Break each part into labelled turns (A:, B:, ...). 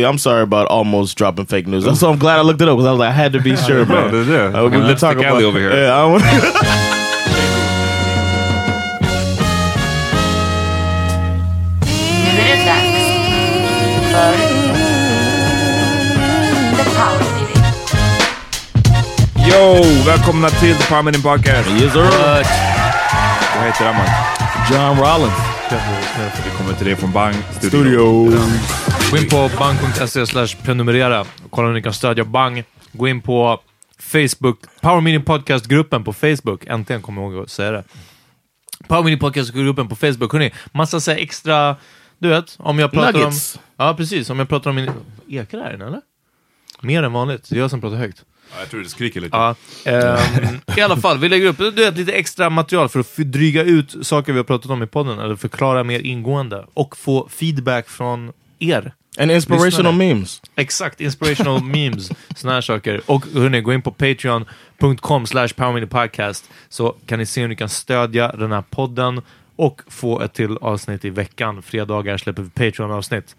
A: Yeah, I'm sorry about almost dropping fake news. So I'm glad I looked it up because I was like, I had to be sure, man.
B: did, yeah.
A: Uh, we've been
B: Lipstick
A: talking
B: Alley over here.
A: Yeah, I don't-
C: Nu är det dags för The Power Minute.
B: Yo! Välkomna till The Power Minute Podcast!
A: Yes, sir.
B: Vad heter Amman?
A: John Rollins.
B: Vi kommer till det från Bang Studio.
D: Gå in på bang.se slash prenumerera och kolla hur ni kan stödja Bang. Gå in på Facebook, Power Meeting Podcast-gruppen på Facebook. Äntligen kommer jag ihåg att säga det. Power Meeting Podcast-gruppen på Facebook. Hörrni, massa så här extra... Du vet, om jag pratar
A: Nuggets.
D: om... Ja, precis. Om jag pratar om min... Ekar det här inne, eller? Mer än vanligt. Det är jag som pratar högt.
E: Jag tror det skriker lite.
D: Ja, ehm, I alla fall, vi lägger upp du vet, lite extra material för att för- dryga ut saker vi har pratat om i podden, eller förklara mer ingående och få feedback från er.
A: And inspirational
D: Lyssnare.
A: memes.
D: Exakt, inspirational memes, såna här saker. Och hörni, gå in på patreon.com slash podcast så kan ni se hur ni kan stödja den här podden och få ett till avsnitt i veckan. Fredagar släpper vi Patreon-avsnitt.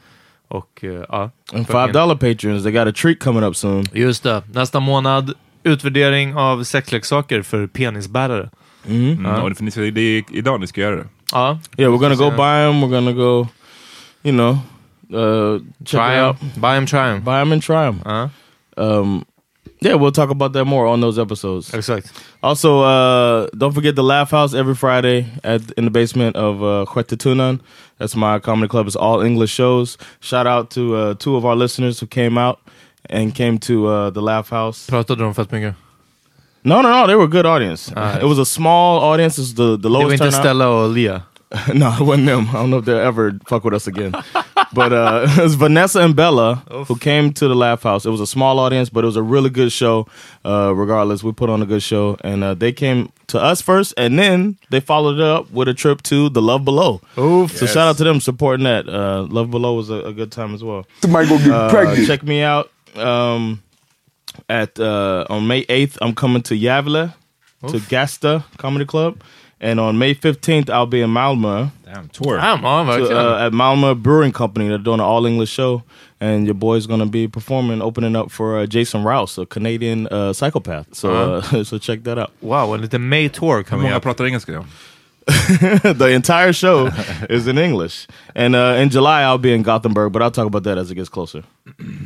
D: Och eh, ja,
A: And five dollar patrons, they got a treat coming up soon.
D: Just det. Nästa månad, utvärdering av sexleksaker för penisbärare.
E: Mm, och det, finns, det är idag ni ska göra det.
D: Ja,
A: Yeah, we're gonna go buy them. We're gonna go, you know, uh, check
D: try
A: it out, Uh-huh.
D: em. Buy em, try em.
A: buy them and try them. Um, yeah, we'll talk about that more on those episodes.
D: Exakt.
A: Also, uh, don't forget the Laugh House every Friday at in the basement of uh, Huetetunan. That's my comedy club. It's all English shows. Shout out to uh, two of our listeners who came out and came to uh, the Laugh House.
D: Pratade de fett mycket?
A: No, no, no, they were a good audience. it was a small audience. It's the the
D: Det var
A: lowest
D: inte
A: turnout.
D: Stella och Lia.
A: no, it wasn't them. I don't know if they'll ever fuck with us again. But uh, it was Vanessa and Bella who came to the Laugh House. It was a small audience, but it was a really good show. Uh, regardless, we put on a good show, and uh, they came to us first, and then they followed it up with a trip to the Love Below.
D: Oof.
A: So shout out to them supporting that. Uh, Love Below was a, a good time as well.
F: Somebody gonna get
A: Uh,
F: pregnant.
A: check me out um, at uh, on May 8th. I'm coming to Yavle to Gasta Comedy Club, and on May 15th I'll be in Malmo
G: Damn, tour.
D: Ja, man,
A: to,
D: verkligen.
A: uh, at Malmo Brewing Company. They're doing an all English show, and your boy's gonna be performing, opening up for uh, Jason Rouse, a Canadian uh, psychopath. So uh, so check that out.
D: wow, en liten May Tour
B: Hur
D: coming
B: många
D: up.
B: pratar engelska? Ja.
A: the entire show is in English, and uh, in July I'll be in Gothenburg, but I'll talk about that as it gets closer.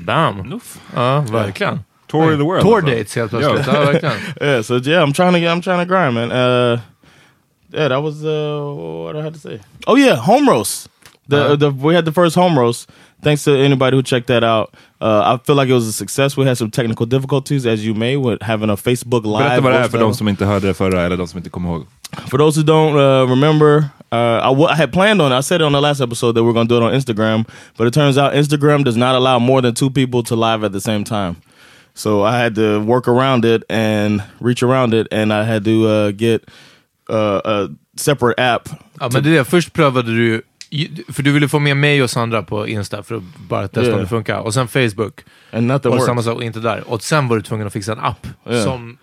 D: Damn. Ja, verkligen.
B: Tour of the world.
D: Tour
B: alltså.
D: dates helt plötsligt. Ja, verkligen.
A: Yeah, so yeah, I'm trying to get, I'm trying to grind, man. Uh, yeah, that was uh, what I had to say. Oh yeah, home roast. The the we had the first home roast. Thanks to anybody who checked that out. Uh, I feel like it was a success. We had some technical difficulties, as you may, with having a Facebook
B: Berätta
A: live.
B: vad det är
A: roast
B: för
A: battle.
B: de som inte hörde det förra, eller de som inte kommer ihåg.
A: For those who don't uh, remember, uh, I, w- I had planned on it. I said it on the last episode that we're going to do it on Instagram, but it turns out Instagram does not allow more than two people to live at the same time. So I had to work around it and reach around it, and I had to uh, get uh, a separate app.
D: Ja, men det är det. Först prövade du, för du ville få med mig och Sandra på Insta för att bara testa
A: Yeah.
D: om det funkar. Och sen Facebook.
A: And nothing
D: Och
A: worked.
D: samma sak, och inte där. Och sen var du tvungen att fixa en app
A: Yeah.
D: som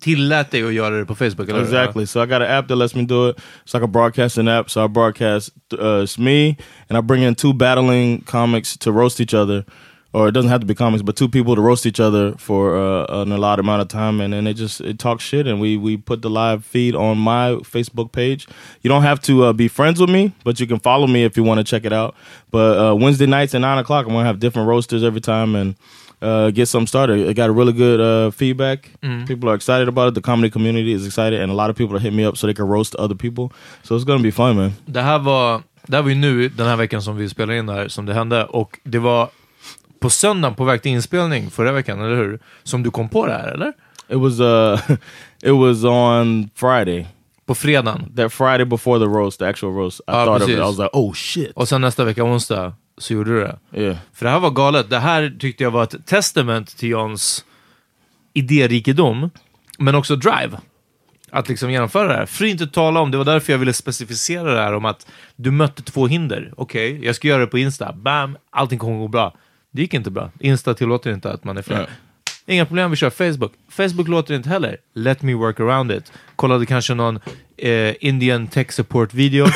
D: tillät dig att göra det på Facebook, eller hur?
A: Exactly. So I got an app that lets me do it. It's like a broadcasting app. So I broadcast uh, it's me, and I bring in two battling comics to roast each other, or it doesn't have to be comics, but two people to roast each other for uh, an allotted amount of time, and then they just it talks shit, and we we put the live feed on my Facebook page. You don't have to uh, be friends with me, but you can follow me if you want to check it out. But uh, Wednesday nights at nine o'clock, I'm gonna have different roasters every time, and uh, get something started. It got a really good uh, feedback. People are excited about it. The comedy community is excited, and a lot of people are hitting me up so they can roast other people. So it's gonna be fun, man.
D: Det här var, det här var ju nu, den här veckan som vi spelar in det här, som det hände. Och det var på söndagen på väg till inspelning förra veckan, eller hur? Som du kom på det här, eller?
A: It was uh, it was on Friday.
D: På fredagen.
A: That Friday before the roast, the actual roast, I
D: Ah,
A: thought of it. I was
D: precis.
A: like, oh shit,
D: Och sen nästa vecka, onsdag, så gjorde du det.
A: yeah.
D: För det här var galet. Det här tyckte jag var ett testament till Johns idérikedom, men också drive. Att liksom genomföra det här. För att inte tala om, det var därför jag ville specificera det här om att du mötte två hinder. Okej, jag ska göra det på Insta. Bam, allting kommer gå bra. Det gick inte bra. Insta tillåter inte att man är fler.
A: Nej.
D: Inga problem, vi kör Facebook. Facebook låter inte heller. Let me work around it. Kollade kanske någon eh, Indian tech support video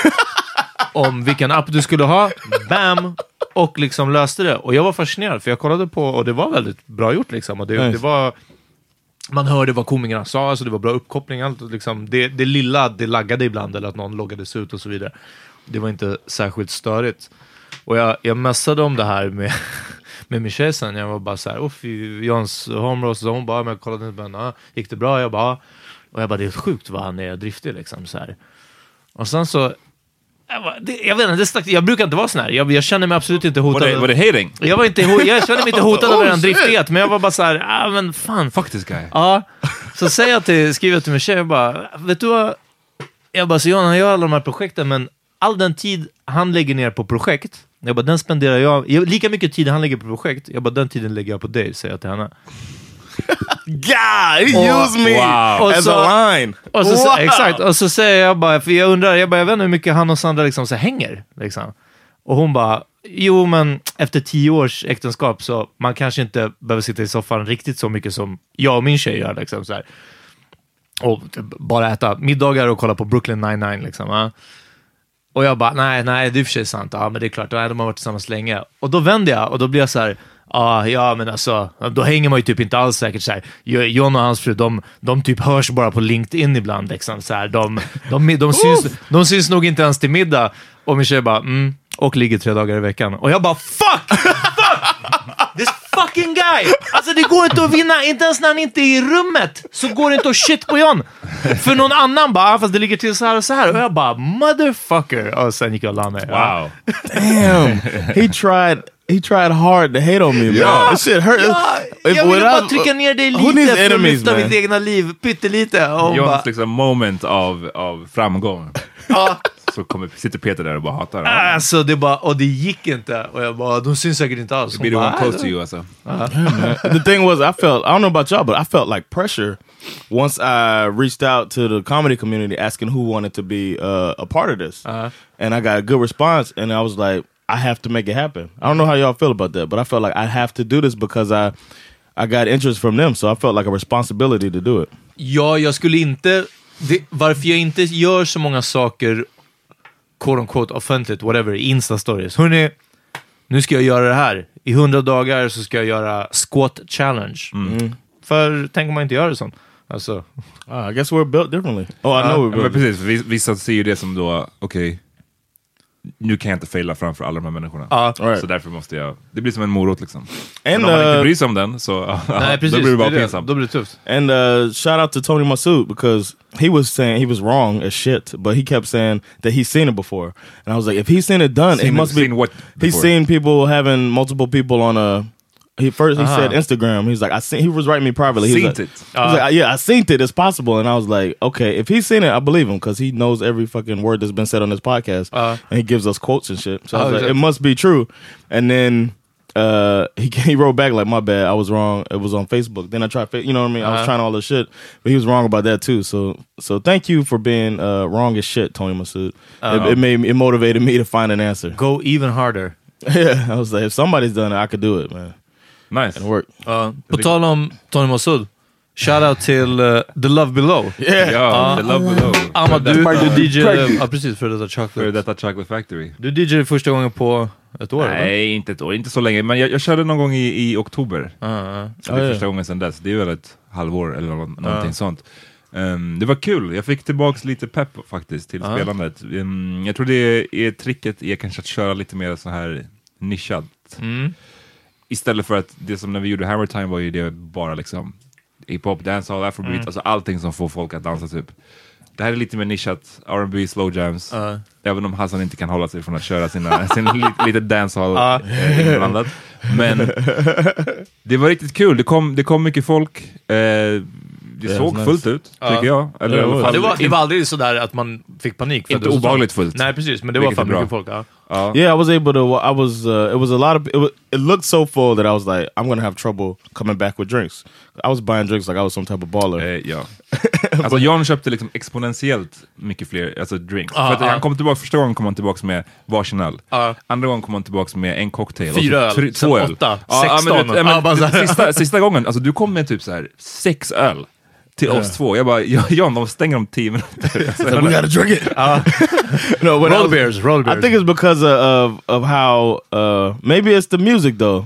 D: om vilken app du skulle ha. Bam! Och liksom löste det. Och jag var fascinerad, för jag kollade på och det var väldigt bra gjort. Liksom. Och det,
A: Nice.
D: det var, man hörde vad komikerna sa, alltså det var bra uppkoppling. Allt, och liksom, det, det lilla, det laggade ibland, eller att någon loggades ut och så vidare. Det var inte särskilt störigt. Och jag, jag messade om det här med, med min tjej sen. Jag var bara så här, uff, Jans homeroast. Hon bara, men jag kollade inte, men ah, gick det bra? Jag bara, ah. Och jag bara, det är sjukt vad han är driftig liksom. Så här. Och sen så, jag, bara, det, jag vet inte, det stack, jag brukar inte vara sån här. Jag, jag känner mig absolut inte
B: Var
D: hotad.
B: det, var det hating?
D: jag, var inte, ho- jag känner mig inte hotad av den driftighet, men jag var bara så här, ah, men fan.
B: Fuck this guy.
D: Ja, så säger jag till, skriver jag till min tjej, jag bara, vet du vad? Jag bara, så Johan, han gör alla de här projekten, men all den tid han lägger ner på projekt, jag bara, den spenderar jag, jag lika mycket tid han lägger på projekt, jag bara, den tiden lägger jag på dig, säger jag till henne.
A: God, he
D: Oh,
A: used me
D: wow.
A: as
D: Also-
A: a line.
D: Och så,
A: Wow.
D: Exakt, och så säger jag bara, för jag undrar, jag, bara, jag vet inte hur mycket han och Sandra liksom så hänger. Liksom. Och hon bara, jo men efter tio års äktenskap så man kanske inte behöver sitta i soffan riktigt så mycket som jag och min tjej gör. Liksom, så här. Och bara äta middagar och kolla på Brooklyn 99 liksom. Ja. Och jag bara, nej, nej, det är i och för sig sant. Ja, men det är klart, nej, de har varit tillsammans länge. Och då vänder jag och då blir jag så här, ah, ja, men alltså, då hänger man ju typ inte alls säkert så här. Jo- John och hans fru, de, de typ hörs bara på LinkedIn ibland. Liksom, så här. De, de, de, syns, de syns nog inte ens till middag. Och min tjej bara, mm, och ligger tre dagar i veckan. Och jag bara, fuck! This fucking guy! Alltså det går inte att vinna, inte ens när han inte är i rummet så går det inte att shit på John. För någon annan bara, "Ah, fast det ligger till så här och så här. Och jag bara, motherfucker! Och sen gick jag och la mig. Ja.
B: Wow.
A: Damn, he tried. He tried hard to hate on me, man.
B: Yeah.
A: This shit hurt.
D: Ja,
A: If
D: jag ville bara
A: without-
D: trycka ner dig
A: Who needs
D: lite för att
A: enemies,
D: lyfta
A: man?
D: mitt egna liv pyttelite. Och hon bara,
B: Johns liksom moment av, av framgång. Så kommer, sitter Peter där och bara hatar. Ja.
D: Alltså, det bara, och det gick inte. Och jag bara, de syns säkert inte alls.
B: Det
D: Hon
B: blir
D: bara, "Äh,
B: one close to you
A: Oh,
B: alltså.
A: the thing was, I felt I don't know about y'all, but I felt like pressure once I reached out to the comedy community asking who wanted to be uh, a part of this, and I got a good response, and I was like, I have to make it happen. I don't know how y'all feel about that, but I felt like I have to do this because I I got interest from them, so I felt like a responsibility to do it.
D: Ja, jag skulle inte... Det, varför jag inte gör så många saker, quote on quote, offentligt, whatever, i Insta-stories. Hörrni, nu ska jag göra det här. I hundra dagar så ska jag göra squat challenge.
B: Mm.
D: För tänk om man inte gör det sånt. Alltså,
A: Ah, I guess we're built differently. Oh, I know
B: Ja,
A: we're built.
B: men precis, vi- vissa ser ju det som då, okej, nu kan jag inte faila framför alla de här människorna.
D: Ja.
A: Right.
B: Så därför måste jag, det blir som en morot liksom.
A: And,
B: Men om man
A: uh,
B: inte bryr sig om den så
D: nej, precis.
B: då blir det bara
D: är
B: pinsamt.
D: Då blir det tufft.
A: And uh, shout out to Tony Masood because he was saying he was wrong as shit, but he kept saying that he's seen it before. And I was like, if he's seen it done, it
B: Seen-
A: must be.
B: seen what
A: he's
B: before?
A: seen people having multiple people on a. He first he said Instagram. He's like, I seen. He was writing me privately. He
B: Uh-huh.
A: was
B: Seen
A: like,
B: it. Uh-huh.
A: he was like, yeah, I seen it. It's possible. And I was like, okay, if he's seen it, I believe him because he knows every fucking word that's been said on this podcast,
B: Uh-huh.
A: and he gives us quotes and shit. So I was
D: Oh,
A: like,
D: exactly.
A: it must be true. And then uh, he he wrote back like, my bad, I was wrong. It was on Facebook. Then I tried, fa- you know what I mean? I
B: Uh-huh.
A: was trying all this shit, but he was wrong about that too. So so thank you for being uh, wrong as shit, Tony Masood.
B: Uh-huh.
A: it, it made me, it motivated me to find an answer.
D: Go even harder.
A: yeah, I was like, if somebody's done it, I could do it, man.
B: nice.
A: It worked.
D: Ja. På tal om Tony Massoud, shout-out till eh, The Love Below.
B: Ja, the love below.
D: Ahmad, du,
B: För detta-
D: du DJade... Ja, precis. För
B: För
D: detta chocolate.
B: detta Chocolate Factory.
D: Du DJade första gången på ett år, eller?
B: Nej, inte ett år, inte så länge. Men jag, jag körde någon gång i, i oktober. Så det är
A: Ah, ja.
B: första gången sedan dess. Det är väl ett halvår eller nå- någonting sånt. Ehm, det var kul, jag fick tillbaks lite pepp faktiskt till spelandet. Ehm, jag tror det är tricket är kanske att köra lite mer så här nischat. Istället för att det som när vi gjorde Hammer Time var ju det bara liksom hiphop, dancehall, afrobeat,
F: Mm.
D: Mm.
B: alltså allting som får folk att dansa typ. Det här är lite mer nischat, R&B, slow jams. Även om Hassan inte kan hålla sig från att köra sina, sin li, lite dancehall eh, inblandat. Men det var riktigt kul, det kom, det kom mycket folk. Eh, det såg
A: nice.
B: fullt ut, tycker jag. Eller i alla
D: Ja,
B: fall
D: det, var, det
B: in-
D: var aldrig sådär att man fick panik. För att
B: Inte
D: det var så
B: obehagligt
D: trångt.
B: fullt.
D: Nej, precis. Men det var
B: Vilket är
D: fan mycket
B: bra.
D: folk. Ja.
A: Yeah, I was able to. I was. Uh, it was a lot of. It, wa- it looked so full that I was like, I'm gonna have trouble coming back with drinks. I was buying drinks like I was some type of baller.
B: Eh, ja. Alltså John köpte liksom exponentiellt mycket fler alltså drinks. För att
D: ah.
B: han kom tillbaka, första gången kom han tillbaka med varsin öl.
D: Ah.
B: Andra gången kom han tillbaka med en cocktail.
D: Fyra
B: och
D: öl,
B: så tre-
D: sen
B: två öl.
D: åtta,
B: Ja, ja, men du vet,
D: 16.
B: ja, men
D: Ah, bara så här.
B: sista, sista gången, alltså du kom med typ så här sex öl. Till oss två. Jag bara, "Ja, John de stänger om tio minuter.
A: Like, we gotta drink it. no, when I
D: Roll
A: was-
D: beers, roll beers.
A: I think it's because of of, of how uh, maybe it's the music though.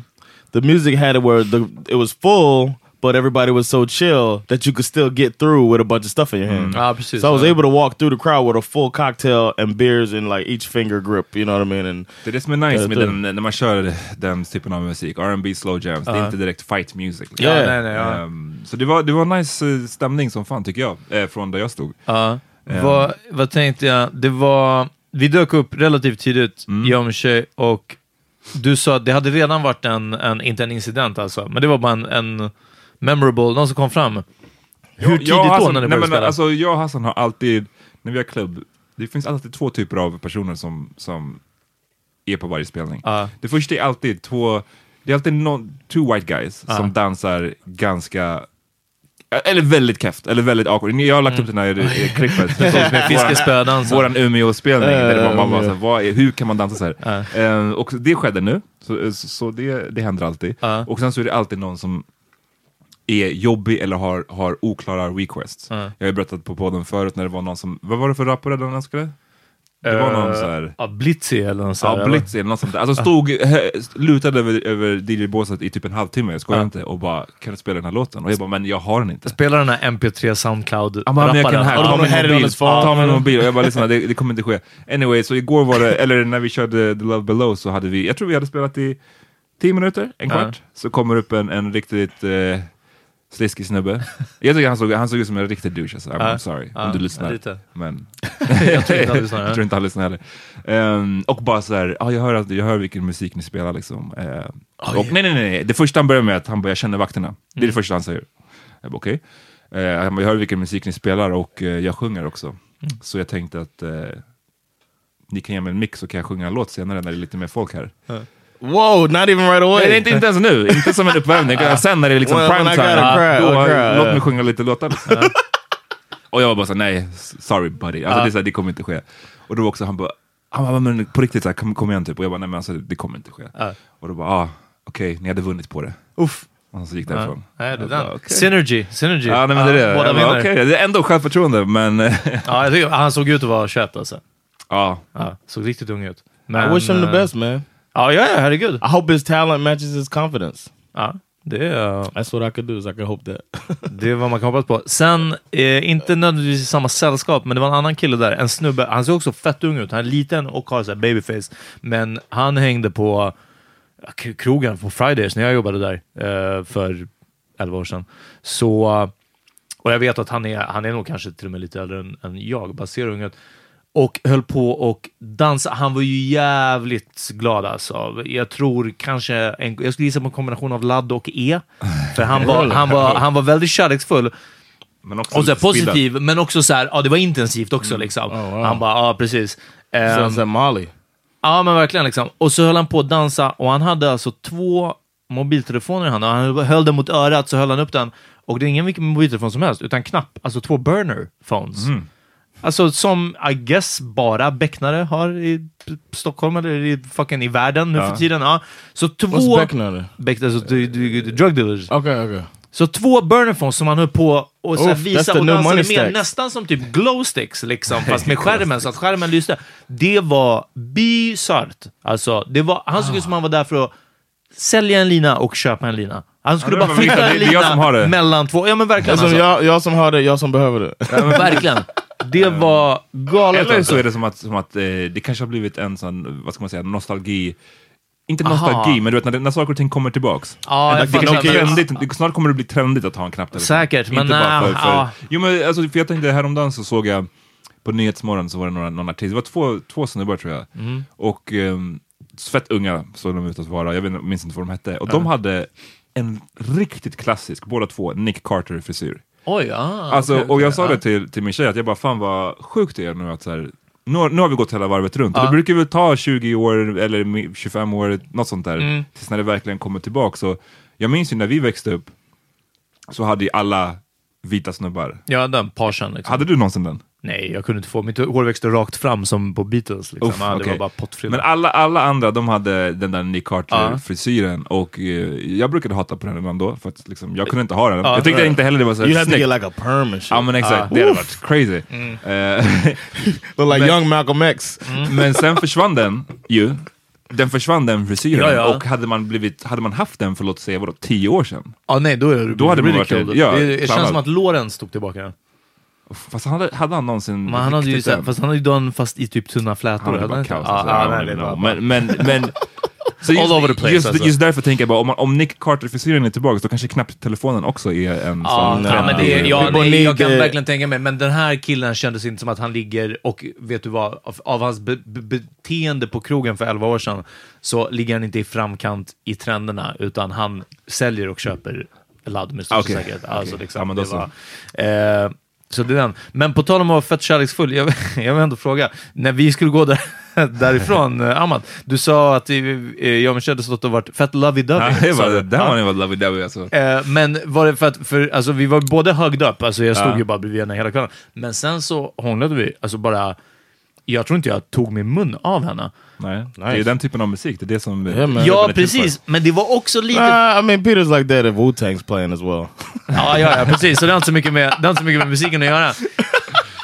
A: The music had it where the it was full, but everybody was so chill that you could still get through with a bunch of stuff in your hand.
D: Ah, precis.
A: so I was
D: Ja.
A: able to walk through the crowd with a full cocktail and beers in like each finger grip. You know what I mean? And
B: Det är det som är nice
A: Jag
B: med
A: tror.
B: den, när man kör den typen av musik, R&B slow jams, det är inte direkt fight music. liksom.
D: Ja, nej, nej, ja.
B: Ehm, så det var, det var nice eh, stämning som fan tycker jag, eh, från där jag stod.
D: Ja. Vad, vad tänkte jag? Det var... Vi dök upp relativt tidigt,
B: Mm.
D: jag och min tjej, och du sa att det hade redan varit en, en inte en incident alltså, men det var bara en, en memorable, någon som kom fram. Hur tidigt
B: Jag och
D: då
B: Hassan-
D: när ni
B: nej,
D: började
B: men,
D: spela?
B: alltså, Jag och Hassan har alltid, när vi har klubb, det finns alltid två typer av personer som, som är på varje spelning.
D: Ja.
B: Det första är alltid två, det är alltid no, two white guys som dansar ganska eller väldigt keft, eller väldigt awkward. Jag har lagt upp den
D: Mm.
B: här eh, klippet.
D: Fiskespödansen.
B: Våran Umeå-spelning, där det var, man bara
A: Umeå.
B: såhär, vad är, hur kan man dansa så här? Eh, och det skedde nu, så, så, så det, det händer alltid.
D: Ja.
B: Och sen så är det alltid någon som är jobbig eller har, har oklara requests. Jag har ju berättat på podden förut när det var någon som, vad var det för rappare den önskade? Det var
D: Eh,
B: någon så här...
D: Ja, Blitzy eller något sånt.
B: Ja, Blitz eller något sånt där. Alltså stod, hö- lutad över, över DJ-båset i typ en halvtimme, jag skojar
D: Ja.
B: inte, och bara kan du spela den här låten? Och jag bara, men jag har den inte.
D: Spela den här MP3
B: Ja, men jag kan
D: Soundcloud-rapparen.
B: här,
D: Ja,
B: ta
D: men-
B: min mobil. Ta min
D: Ja.
B: mobil. Och jag bara lyssna, det, det kommer inte ske. Anyway, så igår var det, eller när vi körde The Love Below så hade vi, jag tror vi hade spelat i 10 minuter, en kvart. Så kommer upp en, en riktigt eh, sliskig snubbe. Jag tycker han såg, han såg ut som en riktig douche alltså. I'm
D: Ja.
B: sorry
D: Ja,
B: om du lyssnar.
D: lite.
B: Men
D: Jag tror inte han lyssnar,
B: jag
D: ja.
B: tror inte han lyssnar heller. Ehm, och bara så här, ah, jag, hör, att- jag hör vilken musik ni spelar liksom. Ehm,
D: Ah,
B: och, nej, nej, nej, nej. Det första han börjar med är att han bara, jag känner vakterna. Det är
D: Mm.
B: det första han säger. Jag bara, okej. Ehm,
D: Mm.
B: Eh, han bara, jag hör vilken musik ni spelar och eh, jag sjunger också. Så jag tänkte att eh, ni kan ge mig en mix så kan jag sjunga en låt senare när det är lite mer folk här.
A: Whoa, not even right away.
B: Nej, det är inte, inte ens nu, inte som en uppvärmning.
D: Ah.
B: Sen när det är liksom
A: When- when I
B: prime
A: got a
B: time,
A: crowd,
B: då,
A: a crowd,
B: låt
D: eh.
A: yeah.
B: mig sjunga lite låtar. liksom. Och jag var bara så här, nej, s- sorry buddy. Alltså, det, är så här, det kommer inte ske. Och då var också han bara, han bara men på riktigt, så här, kom, kom igen typ. Och jag bara, nej men alltså det kommer inte ske. Och då bara, ah, okej, ni hade vunnit på det. Uff. Och så gick det därifrån.
D: Nej, det
B: Jag
D: där.
B: bara, okej.
D: Synergy, synergy.
B: Ja, nej, men det är det.
D: Ah, Båda
B: Jag bara,
D: vinner.
B: okej, det är ändå självförtroende, men...
D: Ja, jag tycker, han såg ut att vara 21 alltså.
B: ja.
D: Ja, såg riktigt ung ut.
A: I
D: Men,
A: wish him the
D: eh,
A: best, man.
D: Ja, ja, ja, herregud.
A: Uh, I hope his talent matches his confidence.
D: Ja, det, är,
A: That's what I could do is I could hope that.
D: det är vad man kan hoppas på. Sen, eh, inte nödvändigtvis i samma sällskap, men det var en annan kille där. En snubbe. Han såg också fett ung ut. Han är liten och har så här babyface. Men han hängde på ja, k- krogen på Fridays när jag jobbade där eh, för 11 år sedan. Så... Och jag vet att han är, han är nog kanske till och med lite äldre än, än jag, bara ser ung ut. Och höll på och dansa. Han var ju jävligt glad alltså. Jag tror kanske, en, jag skulle gissa på en kombination av ladd och E. För han var, han var, han var väldigt kärleksfull.
B: Men också
D: Och så här,
B: lite spillad.
D: positiv, men också så här, ja det var intensivt också liksom. Han bara, ja precis. Ehm,
A: Sounds like Molly.
D: Ja, men verkligen. Liksom. Och så höll han på att dansa och han hade alltså två mobiltelefoner i handen. Han höll den mot örat, så höll han upp den. Och det är ingen vilken mobiltelefon som helst, utan knapp. Alltså två burner phones. Alltså som, I guess, bara becknare har i P- Stockholm eller i, fucking i världen nu för tiden. Ja. Så två...
A: What's back now?
D: Beck, alltså, du, du, du, drug dealers.
A: Okay, okay.
D: Så två burner phones som han höll på och så här
A: Oof, that's
D: visa
A: the
D: och
A: new
D: dansade
A: money
D: med,
A: stacks.
D: nästan som typ glowsticks liksom, fast med skärmen, så att skärmen lyste. Det var bisarrt. Alltså, det var, han såg ut som han var där för att sälja en lina och köpa en lina. Han skulle
B: det
D: bara
B: var viktigt.
D: flytta en
B: Det är jag som har
D: lina
B: det.
D: mellan två. Ja men verkligen
A: Som
D: alltså.
A: y'all, y'all som har det, y'all som behöver det.
D: Verkligen. Det var galet.
B: Eller
D: alltså.
B: så är det som att, som att eh, det kanske har blivit en sån, vad ska man säga, nostalgi. Inte
D: Aha.
B: nostalgi, men du vet när, det- när saker och ting kommer tillbaks.
D: Ja, jag
B: det kanske
D: fattar.
B: är trendigt, det- snart kommer det bli trendigt att ha en knapp där.
D: Säkert, men
B: Inte bara
D: nej,
B: för, för,
D: ja.
B: Jo men alltså, för jag tänkte häromdagen så såg jag på Nyhetsmorgon så var det några, någon artist, det var två, två snubbar tror jag. Och ehm, fett unga såg de ut att vara, jag vet, inte- minns inte vad de hette. Och de hade en riktigt klassisk, båda två, Nick Carter-frisyr.
D: Oj, ah,
B: Alltså,
D: okej,
B: och jag
D: okej,
B: sa
D: ja.
B: det till, till min tjej, att jag bara fan vad sjukt det är nu att så här, nu, har- nu har vi gått hela varvet runt. Och det brukar väl ta 20 år eller mi- 25 år, något sånt där, tills när det verkligen kommer tillbaka. Så jag minns ju när vi växte upp, så hade ju alla vita snubbar.
D: Jag hade en parsen liksom.
B: Hade du någonsin den?
D: Nej, jag kunde inte få. Mitt hår växte rakt fram som på Beatles. Liksom.
B: Uff,
D: ja, det
B: okej.
D: var bara pottfritt.
B: Men alla, alla andra, de hade den där Nick Carter-frisyren och eh, jag brukade hata på den redan då, för att liksom, jag kunde inte ha den. jag tyckte
D: right.
B: inte heller det var så
A: You
B: här
A: have to
B: snyggt.
A: get like a perm and shit.
B: Ja men exakt, det hade varit crazy. Eh,
A: Look like
B: Men-
A: young Malcolm X.
B: Men sen försvann den ju. Den försvann den frisyren
D: Ja, ja.
B: och hade man, blivit, hade man haft den för låt säga vadå, tio år sedan.
D: Ja, nej, då är det
B: Då hade man varit-
D: ridiculed.
B: ja,
D: det, det känns
B: samma.
D: som att låren stod tillbaka.
B: Fast han hade, hade han någonsin...
D: Men han hade ju
B: riktigt
D: såhär,
B: den?
D: fast han hade ju den fast i typ tunna flätor.
B: Han hade
D: hade
B: bara
D: inte?
B: kaos.
D: Ja,
B: alltså.
D: ja,
B: I don't
D: nej, det
B: even
D: var
B: know.
D: bara-
B: Men... men, men så
D: All over the place,
B: just,
D: alltså.
B: just därför tänker jag bara, om, man, om Nick Carter-frisyren är tillbaka då kanske knapptelefonen också är en
D: Ja,
B: sån
D: ja, men det,
B: trendig-
D: ja,
A: People
D: nej, jag
A: need
D: kan
A: the-
D: verkligen tänka mig, men den här killen kändes inte som att han ligger och, vet du vad, av, av hans be, be, beteende på krogen för 11 år sedan så ligger han inte i framkant i trenderna, utan han säljer och köper ladd med största
B: Okej,
D: säkerhet. Alltså, liksom,
B: Ja, men då
D: det
B: så.
D: var, eh, så det är den. Men på tal om att vara fett kärleksfull, jag, jag vill ändå fråga, när vi skulle gå där, därifrån, eh, Ahmad, du sa att vi, eh, jag och Michelle hade stått och varit fett lovey-dovey.
B: Ja, det
D: sa
B: var,
D: du.
B: det
D: Ja.
B: här var ju vad lovey-dovey alltså.
D: Eh, men var det för att, för, alltså, vi var båda hugged up, alltså, jag stod ju bara bredvid henne hela kvällen. Men sen så hånglade vi, alltså bara, jag tror inte jag tog min mun av henne.
B: Nej, det är den typen av musik, det är det som...
A: Yeah, man.
D: Ja, precis, men det typ var också lite...
A: Nah, I mean, Peter's like that if Wu Tang's playing as well.
D: Ja, ja, ja precis, så det har inte så mycket med, det har inte så mycket med musiken att göra.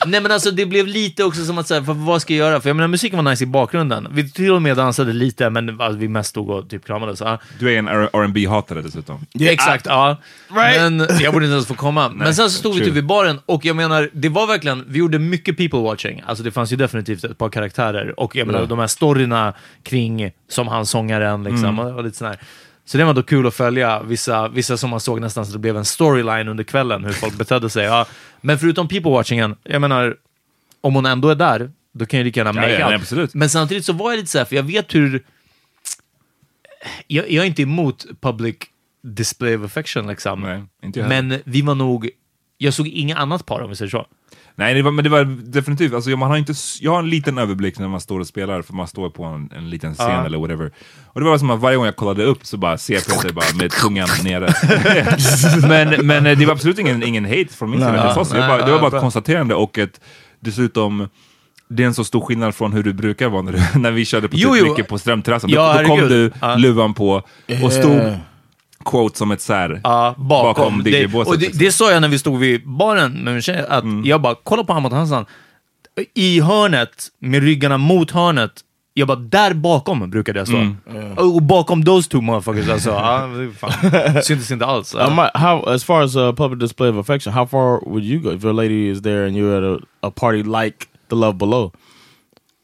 D: Nej men alltså det blev lite också som att säga, vad ska jag göra? För jag menar musiken var nice i bakgrunden. Vi till och med dansade lite, men alltså, vi mest stod och typ kramades. Ja.
B: Du är en rb hatare dessutom.
D: Exakt, ja. Men jag borde inte ens få komma. Men sen så stod vi
B: Ah, true.
D: typ vid baren och jag menar, det var verkligen, vi gjorde mycket people watching. Alltså det fanns ju definitivt ett par karaktärer och jag menar de här storyna kring, som han sångaren
B: Mm.
D: liksom, och lite sån här. Så det var då kul att följa vissa, vissa som man såg nästan så det blev en storyline under kvällen, hur folk betedde sig. Ja. Men förutom people watchingen, jag menar, om hon ändå är där, då kan jag lika gärna
B: Ja,
D: make
B: ja,
D: out.
B: nej, absolut.
D: Men samtidigt så var jag lite så här, för jag vet hur... Jag, jag är inte emot public display of affection liksom.
B: Nej, inte jag heller.
D: men vi var nog Jag såg inget annat par om vi säger så.
B: Nej, det var, men det var definitivt, alltså, jag- man har inte, s- jag har en liten överblick när man står och spelar, för man står på en, en liten scen
D: Ja.
B: eller whatever. Och det var som att varje gång jag kollade upp så bara ser jag Peter bara med tungan nere. men, men eh, det var absolut ingen, ingen hate från min sida,
D: Nej.
B: det, sa så.
D: Nej,
B: jag bara, det var
D: ja,
B: bara
D: bra.
B: ett konstaterande och ett, dessutom, det är en så stor skillnad från hur du brukar vara när, du, när vi körde på
D: Jo,
B: typ
D: jo.
B: Micke på Strömterrassen.
D: Ja,
B: då, då kom
D: herregud.
B: du,
D: Ja. Eh.
B: luvan på, och stod quote som ett sär
D: Ja, bakom.
B: bakom
D: det,
B: DJ-båset.
D: och det,
B: liksom. Mm.
D: det sa jag när vi stod vid baren med min tjej, att jag bara, kolla på Hamad Hansan. I hörnet, med ryggarna mot hörnet, jag bara, där bakom brukade jag stå.
B: Mm.
D: Och bakom those two motherfuckers alltså. ja, det är fan. Syntes inte alls.
A: I might- Uh, how as far as a public display of affection, how far would you go if your lady is there and you're at a, a party like the Love Below?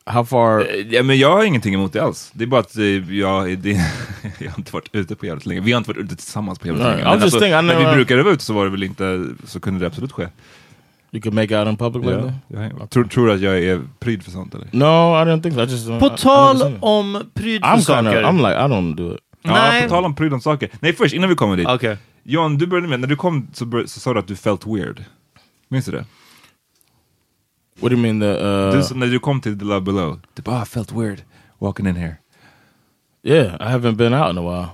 A: How far?
B: Eh, Ja, men jag har ingenting emot det alls. Det är bara att eh, jag, det, jag har inte varit ute på jävligt länge. Vi har inte varit ute tillsammans på jävligt
A: Nej,
B: länge.
A: I'm
B: Men alltså,
A: just thinking, I
B: när vi
A: never-
B: brukade vara ute så var det väl inte, så kunde det absolut ske.
A: You could make out in public like
B: Ja.
A: that?
B: Jag, tror, tror du att jag är pryd för sånt eller?
A: No, I didn't think so. I just uh,
D: På
A: I- I never
D: tal
A: seen it.
D: om prydsaker.
A: I'm kind of I'm like I don't do it.
B: Ja,
D: Nej.
B: på tal om pryd om saker. Nej, först innan vi kommer dit.
D: Okej.
B: John, du började med, när du kom så, bör, så sa du att du felt weird. Minns du det?
A: What do you mean the uh,
B: Du, sa- när du kom till The Love Below, du bara ah, felt weird walking in here.
A: Yeah, I haven't been out in a while.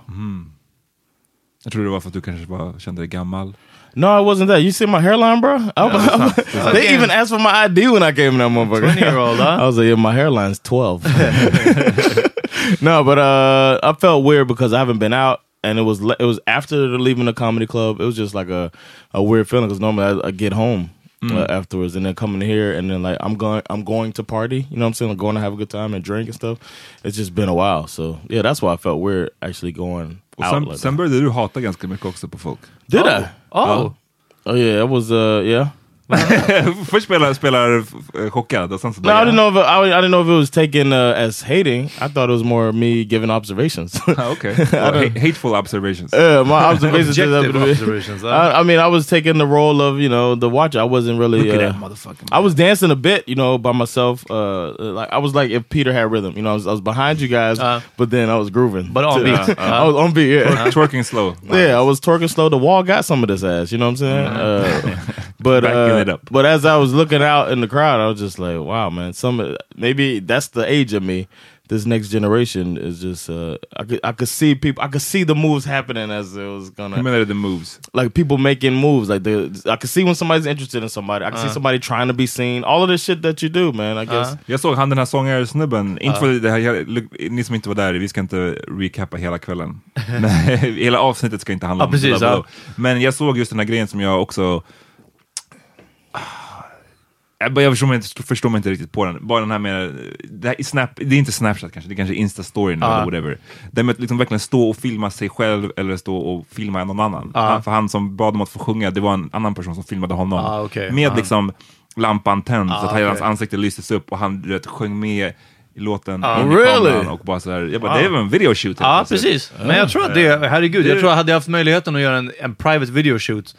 B: Jag tror det var för att du kanske bara kände dig gammal.
A: No, it wasn't that. You see my hairline, bro? I- they
D: Okay.
A: even asked for my ID when I came in that motherfucker.
D: 20-year-old, huh?
A: I was like, yeah, my hairline's 12. no, but uh, I felt weird because I haven't been out. And it was le- it was after leaving the comedy club. It was just like a, a weird feeling because normally I, I get home
D: Mm.
A: uh, afterwards and then coming here and then like I'm going I'm going to party. You know what I'm saying? Like going to have a good time and drink and stuff. It's just been a while, so yeah, that's why I felt weird actually going
B: Och
A: out.
B: sen,
A: like
B: sen
A: that.
B: började du hata ganska mycket också på folk.
A: Did I?
D: Oh.
A: Oh yeah, it was uh yeah.
B: Först spelar, spelar eh, chockad och sen så
A: No, I didn't know if it, I, I didn't know if it was taken uh, as hating. I thought it was more me giving observations.
B: Ah, okay. Well, ha- hateful observations.
A: yeah, my observations. just
D: Objective
A: happened to be-
D: observations, huh?
A: I, I mean, I was taking the role of you know the watcher. I wasn't really.
B: Look at
A: uh,
B: that motherfucker,
A: I was dancing a bit, you know, by myself. Uh, like I was like if Peter had rhythm, you know, I was, I was behind you guys,
D: Uh.
A: but then I was grooving.
D: But on
A: too.
D: beat.
A: I was on beat.
F: Uh-huh.
A: Yeah.
B: Twerking slow.
A: Yeah, I was twerking slow. The wall got some of this ass. You know what I'm saying? Uh, but
B: Backing
A: uh,
B: it up.
A: but as I was looking out in the crowd, I was just like, wow, man. Some maybe that's the age of me. This next generation is just uh, I could I could see people. I could see the moves happening as it was
B: Hur
A: gonna
B: menar du the moves?
A: like people making moves. Like the I could see when somebody's interested in somebody. I could
B: Uh-huh.
A: see somebody trying to be seen. All of this shit that you do, man. I guess.
B: Jag såg han den här sångare-snubben, inte för det här, look, ni som inte var där, vi ska inte recappa hela kvällen. Nej, hela avsnittet ska inte handla
D: Ja,
B: om
D: precis,
B: Love
D: ja.
B: Below. Men jag såg just den här grejen som jag också... Jag, bara- jag förstår, mig inte, förstår mig inte riktigt på den. Bara den här med... Det, här, är snap, det är inte Snapchat kanske, det är kanske Insta-story nu eller whatever. Det med att liksom verkligen stå och filma sig själv eller stå och filma någon annan. Han, för han som bad om att få sjunga, det var en annan person som filmade honom.
D: Ah, okej.
B: Med liksom lampan tänd, så att
D: okej.
B: hans ansikte lystes upp och han du vet, sjöng med i låten
D: Ah,
B: in
A: really?
B: i kameran och bara så här, jag bara, det är väl en videoshoot? helt
D: Ja,
B: plötsligt."
D: Ah. precis. Men jag tror att det, herregud, jag tror att hade jag haft möjligheten att göra en, en private video shoot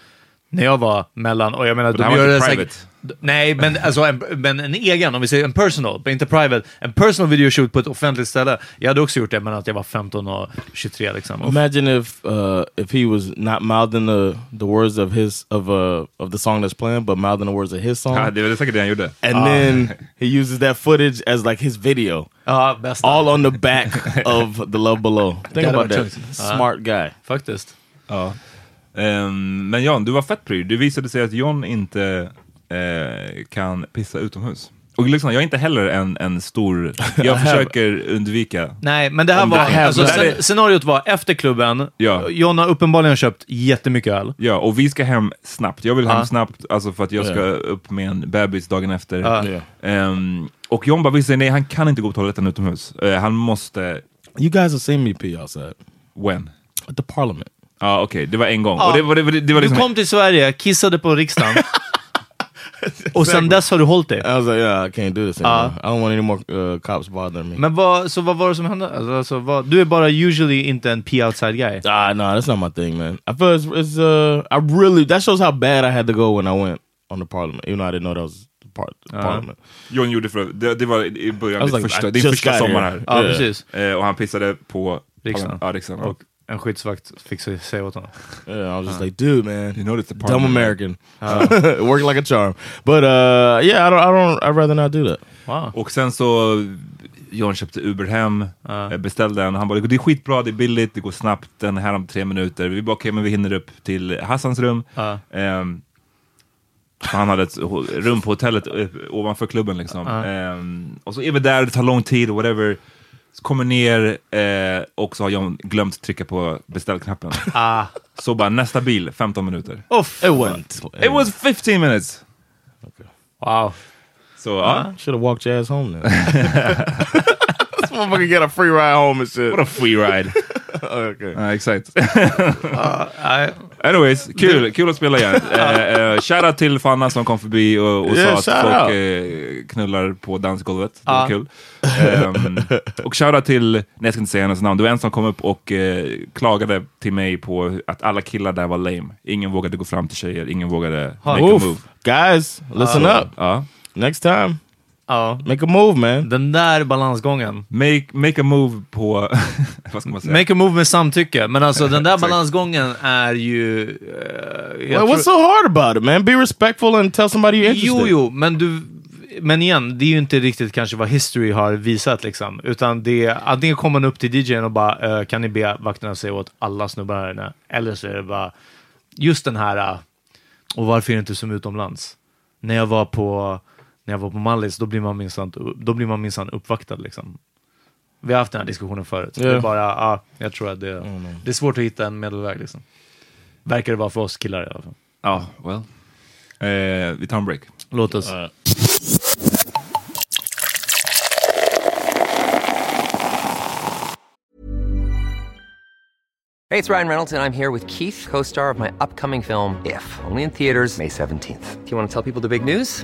D: när jag var mellan, och jag menar,
B: det här
D: de
B: var
D: gör
B: inte
D: det
B: private.
D: d- Nej, men alltså en, men en egen, om vi säger en personal, men inte private. En personal video shoot på ett offentligt ställe. Jag hade också gjort det, men att jag var 15 och 23 liksom. Och-
A: Imagine if uh, if he was not mouthing the the words of his of uh of the song that's playing, but mouthing the words of his song.
B: Ja, det var det säkert det han gjorde.
A: and then he uses that footage as like his video,
D: Ja, bästa.
A: all on the back of the Love Below. Think
D: Gotta
A: about
D: watch
A: that,
D: it.
A: smart guy.
D: Faktiskt.
B: Ja. Ehm, men John, du var fett pryd. Det visade sig att John inte eh, kan pissa utomhus. Och liksom, jag är inte heller en, en stor... Jag försöker undvika...
D: Nej, men det här
B: Om
D: var...
B: det här-
D: alltså,
B: det här
D: scen-
B: är-
D: scenariot var efter klubben.
B: Ja.
D: John har uppenbarligen köpt jättemycket öl.
B: Ja, och vi ska hem snabbt. Jag vill hem
D: Ja.
B: snabbt, alltså för att jag ska
A: Ja.
B: upp med en bebis dagen efter.
A: Ja.
B: Ehm, och John bara, visste nej, han kan inte gå på toaletten utomhus. Eh, han måste...
A: You guys have seen me pee outside
B: When?
A: at the Parliament.
B: Ja, okej, det var en gång.
D: Ja.
B: Och det var, det, var- det var
D: Du
B: liksom...
D: kom till Sverige, kissade på riksdagen. och sen dess har du hållit dig.
A: I was like, yeah, I can't do this anymore. I don't want any more uh, cops bothering me.
D: Men vad, så vad var det som hände? Alltså, alltså, vad, du är bara usually inte en pee outside guy.
A: Ah, no, that's not my thing, man. I feel it's, it's uh, I really that shows how bad I had to go when I went on the Parliament, even though I didn't know that was the part the Parliament.
B: John gjorde för det, det var i början,
A: I was
B: ditt
A: like,
B: första,
A: I
B: din
A: just
B: första
A: got
B: sommar här.
A: here.
D: Ja,
A: Yeah.
D: precis.
B: Eh, och han pissade på
D: Riksdagen.
B: Ja, riksdagen. Och,
D: En skyddsvakt fick se- säga åt honom.
A: Yeah, I was just like, dude, man,
B: You know that's a part
A: dumb
B: of it.
A: American, working like a charm. But uh, yeah, I don't, I don't, I'd rather not do that.
D: Wow.
B: Och sen så, John köpte Uber hem, eh, beställde en. Han bara, det är skitbra, det är billigt, det går snabbt, den här om tre minuter. Vi bara, okej, men vi hinner upp till Hassans rum.
D: Ja.
B: Ehm, han hade ett ho- rum på hotellet eh, ovanför klubben liksom. Ehm, och så är vi där, det tar lång tid, whatever. Så kommer ner eh, och så har John glömt trycka på beställknappen.
D: Ah.
B: Så bara, nästa bil, 15 minuter. Ehm.
A: Oof, it wasn't.
B: It was 15 minutes!
D: Wow.
B: Så ja,
A: Should have walked your ass home then. this motherfucker got a free ride home and shit.
B: what a free ride!
A: okay.
B: Ja, exakt. Anyways, kul, kul att spela igen. Eh, eh, Shoutout till Fanna som kom förbi och, och
A: Yeah,
B: sa att
A: shout
B: folk
A: out.
B: eh, knullar på dansgolvet. Det var kul. Ehm, och shoutout till, nej jag ska inte säga hennes namn, det var en som kom upp och eh, klagade till mig på att alla killar där var lame. Ingen vågade gå fram till tjejer, ingen vågade make a move.
A: Oof. Guys, listen up.
B: Ja.
A: Next time,
D: Ja.
A: make a move, man.
D: Den där balansgången.
B: Make, make a move på, vad ska man säga?
D: Make a move med samtycke, men alltså den där balansgången är ju... eh, jag
A: Well,
D: tror-
A: what's so hard about it, man? Be respectful and tell somebody you're interested.
D: Jo, jo, men du... Men igen, det är ju inte riktigt kanske vad history har visat liksom. Utan det är, antingen kommer man upp till DJn och bara eh, kan ni be vakterna säga åt alla snubbar här inne? Eller så är det bara just den här eh, och varför är det inte som utomlands? När jag var på, när jag var på Mallis, då blir man minsann, då blir man minsann uppvaktad liksom. Vi har haft den här diskussionen förut. Det är
A: Ja.
D: bara, ja, Mm. jag tror att det, det är svårt att hitta en medelväg liksom. Verkar det vara för oss killar i alla fall.
B: Ja, well. Eh, vi tar en break.
D: Låt oss.
F: Hey, it's Ryan Reynolds, and I'm here with Keith, co star of my upcoming film, If, only in theaters, May 17th. Do you want to tell people the big news?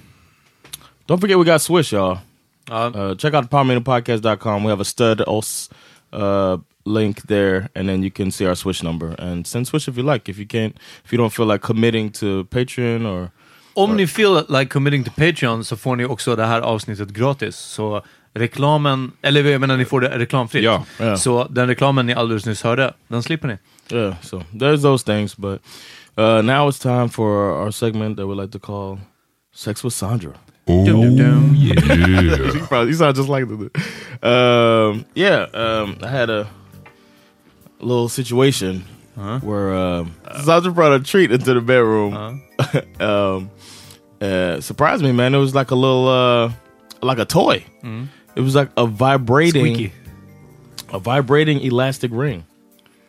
A: don't forget we got Swish, y'all. Uh, check out powermeterpodcast.com. We have a stud os uh, link there, and then you can see our Swish number. And send Swish if you like. If you can't, if you don't feel like committing to Patreon or
D: Om ni feel like committing to Patreon så får ni också det här avsnittet gratis. Så reklamen, eller jag menar ni får det reklamfritt.
B: Ja, Oh.
A: ja.
D: Så den reklamen ni alldeles nyss hörde, den slipper ni.
A: yeah, so there's those things. But uh, now it's time for our segment that we like to call "Sex with Sandra." you probably you sound just like the dude. Um, yeah, um, I had a little situation where um, Sandra brought a treat into the bedroom. um, uh, surprised me, man. It was like a little, uh, like a toy. It was like a vibrating,
D: Squeaky.
A: a vibrating elastic ring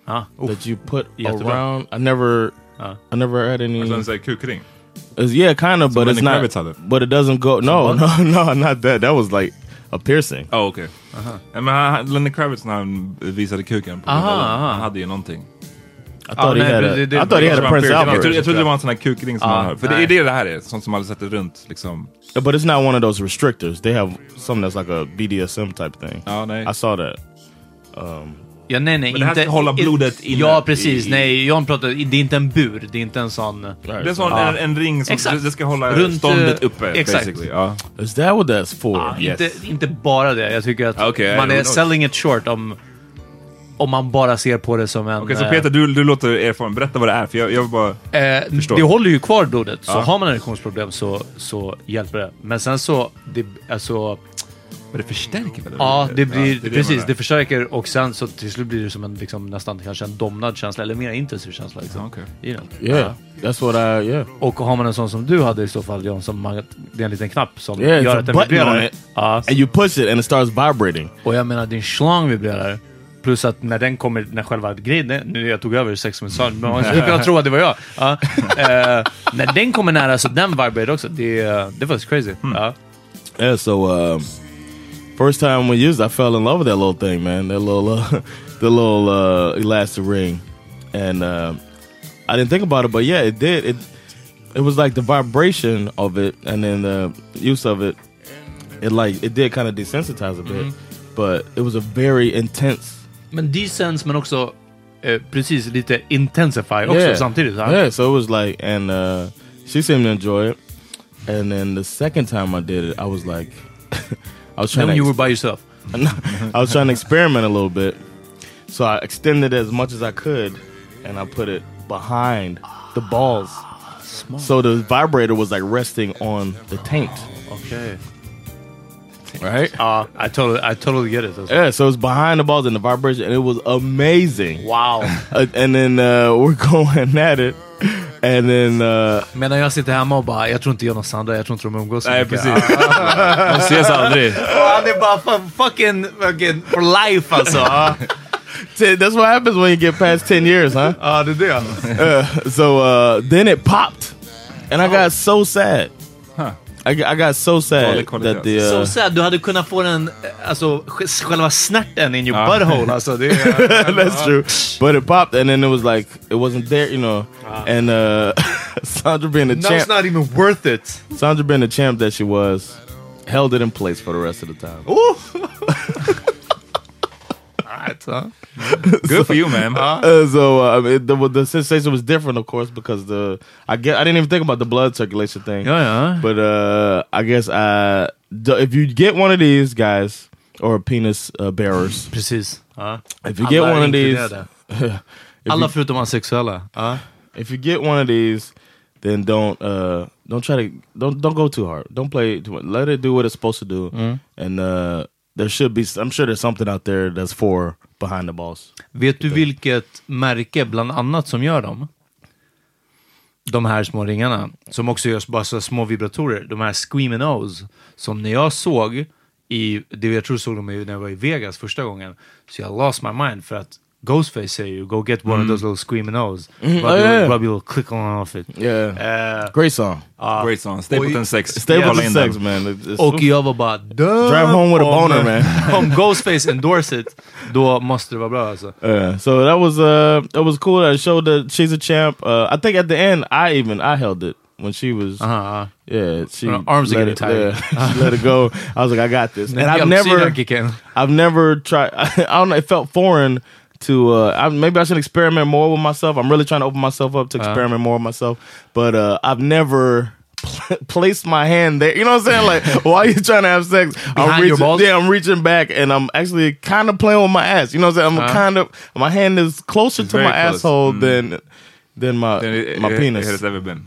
D: Ja, oh.
A: that you put
D: Jättebra.
A: around. I never, Uh. I never had any.
B: Sen säger kukring.
A: It's- yeah, kind of, but
B: Lenny
A: it's not.
B: Kravitz had it.
A: But it doesn't go. No, no, no, not that. That was like a piercing.
B: Ja, okej. Ja, Men han, Lenny Kravitz när han visade kuken på
D: Aha,
B: modellen,
D: aha.
B: han hade ju någonting.
A: I thought he
D: nej,
A: had. A,
D: det- det-
A: I thought he had a
D: det-
A: Prince
D: det-
B: jag,
A: Albert.
B: trodde, jag trodde det var en sån här kukring som
D: Ja,
B: han har. För det
D: nej.
B: är det det här är, sånt som hade sett det runt liksom.
A: But it's not one of those restrictors. They have something that's like a BDSM type thing.
B: Ja, nej.
A: I saw that.
D: Ja, nej, nej.
B: Men det här
D: inte,
B: ska hålla blodet inne
D: Ja, precis.
B: i-
D: nej, John pratar... Det är inte en bur. Det är inte en sån...
B: Det är sån, en, en ring som
D: Exakt.
B: det ska hålla
D: Runt,
B: ståndet
D: eh,
B: uppe.
D: exakt.
B: Basically. Ja.
A: Is that what that's for?
D: Ah, inte, inte bara det. Jag tycker att
B: Okej,
D: man
B: I
D: är
B: don't know.
D: selling it short om, om man bara ser på det som en...
B: Okej, så Peter, du, du låter erfaren. Berätta vad det är, för jag, jag vill bara...
D: eh,
B: förstår.
D: det håller ju kvar blodet, så
B: Ja.
D: har man erektionsproblem så, så hjälper det. Men sen så... Det, alltså,
B: Men det förstärker väl?
D: Ja, det blir,
B: det är det jag
D: precis.
B: menar.
D: Det förstärker och sen så till slut blir det som en liksom, nästan kanske en domnad känsla eller mer intensiv känsla. Liksom,
B: Okej.
D: i den.
A: Yeah, that's what I. Yeah,
D: Och har man en sån som du hade i så fall John, som man, det är en liten knapp som
A: Yeah, it's
D: gör
A: a
D: att den
A: button on
D: vibrerar.
A: it.
D: Ja,
A: and you push it and it starts vibrating.
D: och jag menar din schlong vibrerar. Plus att när den kommer, när själva grejen, nu jag tog över sex minuter men man skulle kunna tro att det var jag. Ja. Eh, när den kommer nära så den vibrerar också. Det, är- det var crazy. Ja.
A: Yeah, so um, first time we used, it, I fell in love with that little thing, man. That little, uh, the little uh, elastic ring, and um I didn't think about it, but yeah, it did. It it was like the vibration of it, and then the use of it. It like it did kind of desensitize a bit,
D: Mm-hmm.
A: but it was a very intense.
D: Men decens men också eh, precis lite intensify också samtidigt. Ja.
A: Yeah, so it was like, and uh, she seemed to enjoy it. And then the second time I did it, I was like, I was trying
D: Then
A: to
D: you were by yourself.
A: I was trying to experiment a little bit. So I extended it as much as I could and I put it behind the balls. So the vibrator was like resting on the taint.
D: Okay.
A: Right?
D: Uh, I totally, I totally get it. alltså.
A: Yeah, so it's behind the balls and the vibration and it was amazing.
D: Wow.
A: Uh, and then uh, we're going at it. And then uh,
D: Medan jag sitter hemma och bara, jag tror inte John och Sandra, jag tror inte de umgås så
B: Nej,
D: mycket.
B: precis. De ses aldrig.
D: Ja, det är bara fu- fucking, fucking for life alltså. Ja,
A: t- that's what happens when you get past 10 years, huh?
D: Ja, det är det.
A: so uh, then it popped, and I got so sad. I, got- I got so sad
B: Dålig kvalitet.
A: that the uh,
D: So sad, du hade kunnat få den, eh, alltså sj- själva snärten in your butthole alltså. Det är,
A: that's true, but it popped, and then it was like it wasn't there, you know. And uh, Sandra being the
D: Now
A: champ,
D: Uh-huh. it's not even worth it.
A: Sandra being the champ that she was, held it in place for the rest of the time.
B: Good for you man.
A: Uh, so uh, I mean, the, the sensation was different, of course, because the I get I didn't even think about the blood circulation thing.
D: Ja, ja.
A: But uh, I guess I, if you get one of these guys or penis uh, bearers,
D: Precis. Ja.
A: if you get
D: Alla
A: one of these,
D: inkluderade.
A: if
D: Alla
A: you,
D: förutom asexuella. Ja.
A: if you get one of these, then don't uh, don't try to don't don't go too hard. Don't play. Too much. Let it do what it's supposed to do.
D: Mm-hmm.
A: And uh, there should be. I'm sure there's something out there that's for behind the balls.
D: Vet du vilket märke bland annat som gör dem? De här små ringarna, som också görs bara så små vibratorer. De här Screamin' O's, som när jag såg i, det jag tror såg dem i, när jag var i Vegas första gången, så jag lost my mind för att Ghostface säger ju go get one of those little Screamin' O's, rub,
A: Oh,
D: your,
A: yeah.
D: rub your little click on off it. Eh,
A: Yeah. Uh, Great song.
D: Oh,
B: Great song. Stapleton 6.
A: Stable
B: Kolla
A: yeah,
B: in
A: sex,
B: den.
A: man. It's- it's-
D: Och jag var bara "Duh."
A: Drive home with a
D: Om-
A: boner, man.
D: Om Ghostface endorse it, då måste det vara bra alltså.
A: Yeah, so that was uh that was cool. That showed that she's a champ. Uh, I think at the end, I even I held it when she was.
D: Uh-huh.
A: Yeah, she
D: Her arms are
A: let
D: getting
A: it,
D: tired.
A: yeah, she let it go. I was like, I got this, and I've
D: Jag ser den
A: never,
D: kicken.
A: I've never tried. I don't know. It felt foreign to. Uh, I, maybe I should experiment more with myself. I'm really trying to open myself up to
B: Uh-huh.
A: experiment more with myself. But uh, I've never. pl- Placed my hand there, you know what I'm saying? Like, why are you trying to have sex? I'm
D: Behind your
A: reaching,
D: balls?
A: yeah, I'm reaching back, and I'm actually kind of playing with my ass. You know what I'm saying? I'm kind of my hand is closer to
B: Uh-huh. very
A: my
B: close.
A: asshole
B: Mm.
A: than than my my penis.
B: It has ever been.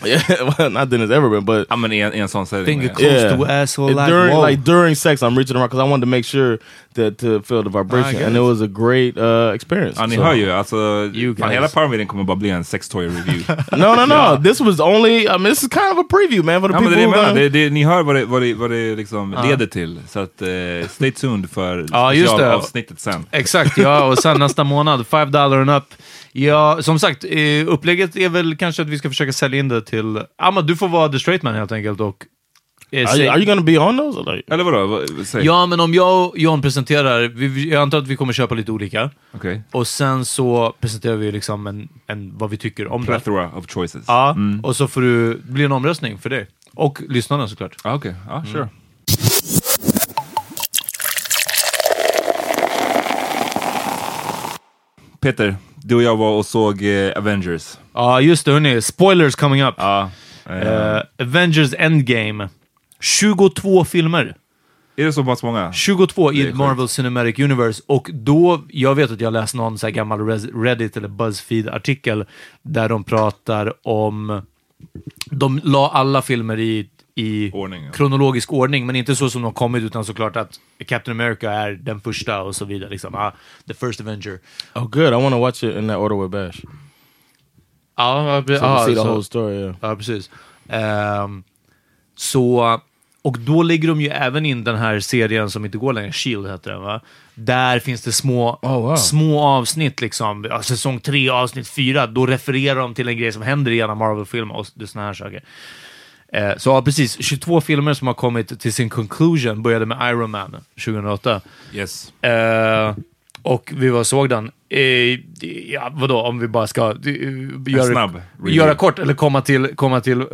A: yeah, well, not than it's ever been, but
B: Ja, men i en, i en sån setting.
D: Finger
B: ja.
D: close to asshole
A: It-
D: like,
A: during
D: whoa.
A: like during sex, I'm reaching around because I wanted to make sure that to feel the
D: I
A: vibration,
D: get
A: and it
D: it.
A: was a great uh, experience.
B: Ja, ni
A: So-
B: hör ju. Alltså,
D: You
B: fan,
D: guys.
B: hela Parmiden kommer bara bli en sextoy review.
A: No, no, no. This was only. I mean, this is kind of a preview, man. For the
B: Ja, men
A: people
B: det är det jag
A: who
B: menar.
A: gonna,
B: Det, det, ni hör vad det, vad det, vad det liksom leder till. Så att, eh, stay tuned för
D: Ja, just det.
B: specialavsnittet sen.
D: Exakt, ja. Och sen nästa månad, five dollar and up. Ja, som sagt, eh, upplägget är väl kanske att vi ska försöka sälja in det till... Amma, du får vara the straight man helt enkelt och... eh,
A: are,
D: säg-
A: you, are you gonna be on those? Or like,
B: Eller vadå? Vad- Säg.
D: Ja, men om jag och John presenterar, vi- vi, jag antar att vi kommer köpa lite olika.
B: Okej.
D: Och sen så presenterar vi liksom en, en, vad vi tycker om det.
B: Plethora of choices.
D: Ja, och så får du, det blir en omröstning för dig. Och lyssnarna såklart.
B: Ah, Okej, ja
D: Mm.
B: sure. Peter, du och jag var och såg eh, Avengers.
D: Ja, just det. Hörni, spoilers coming up.
B: eh.
D: Eh, Avengers Endgame. 22 filmer.
B: Är det så pass många?
D: 22
B: Det är
D: i
B: sjukt.
D: Marvel Cinematic Universe. Och då, jag vet att jag läste någon så här gammal Res- Reddit eller Buzzfeed-artikel där de pratar om... De la alla filmer i, i
B: Ordning, ja.
D: kronologisk ordning, men inte så som de kommit, utan såklart att Captain America är den första och så vidare. Liksom. Ah, the first Avenger.
A: Oh, good. I want to watch it in that order with Bash. So
D: Ja,
A: we see the whole story. Yeah.
D: Ja, precis. Ehm, så, och då lägger de ju även in den här serien som inte går längre, Shield heter den va? Där finns det små,
A: Oh, wow.
D: små avsnitt, liksom. Ja, säsong 3, avsnitt 4. Då refererar de till en grej som händer i en av Marvel-filmerna och det är såna här saker. Eh, Så ja, precis, 22 filmer som har kommit till sin conclusion började med Iron Man 2008.
B: Yes.
D: Eh, och vi var såg den. Eh, ja, vadå, om vi bara ska eh,
B: snabb
D: göra,
B: review.
D: göra kort eller komma till, komma till eh,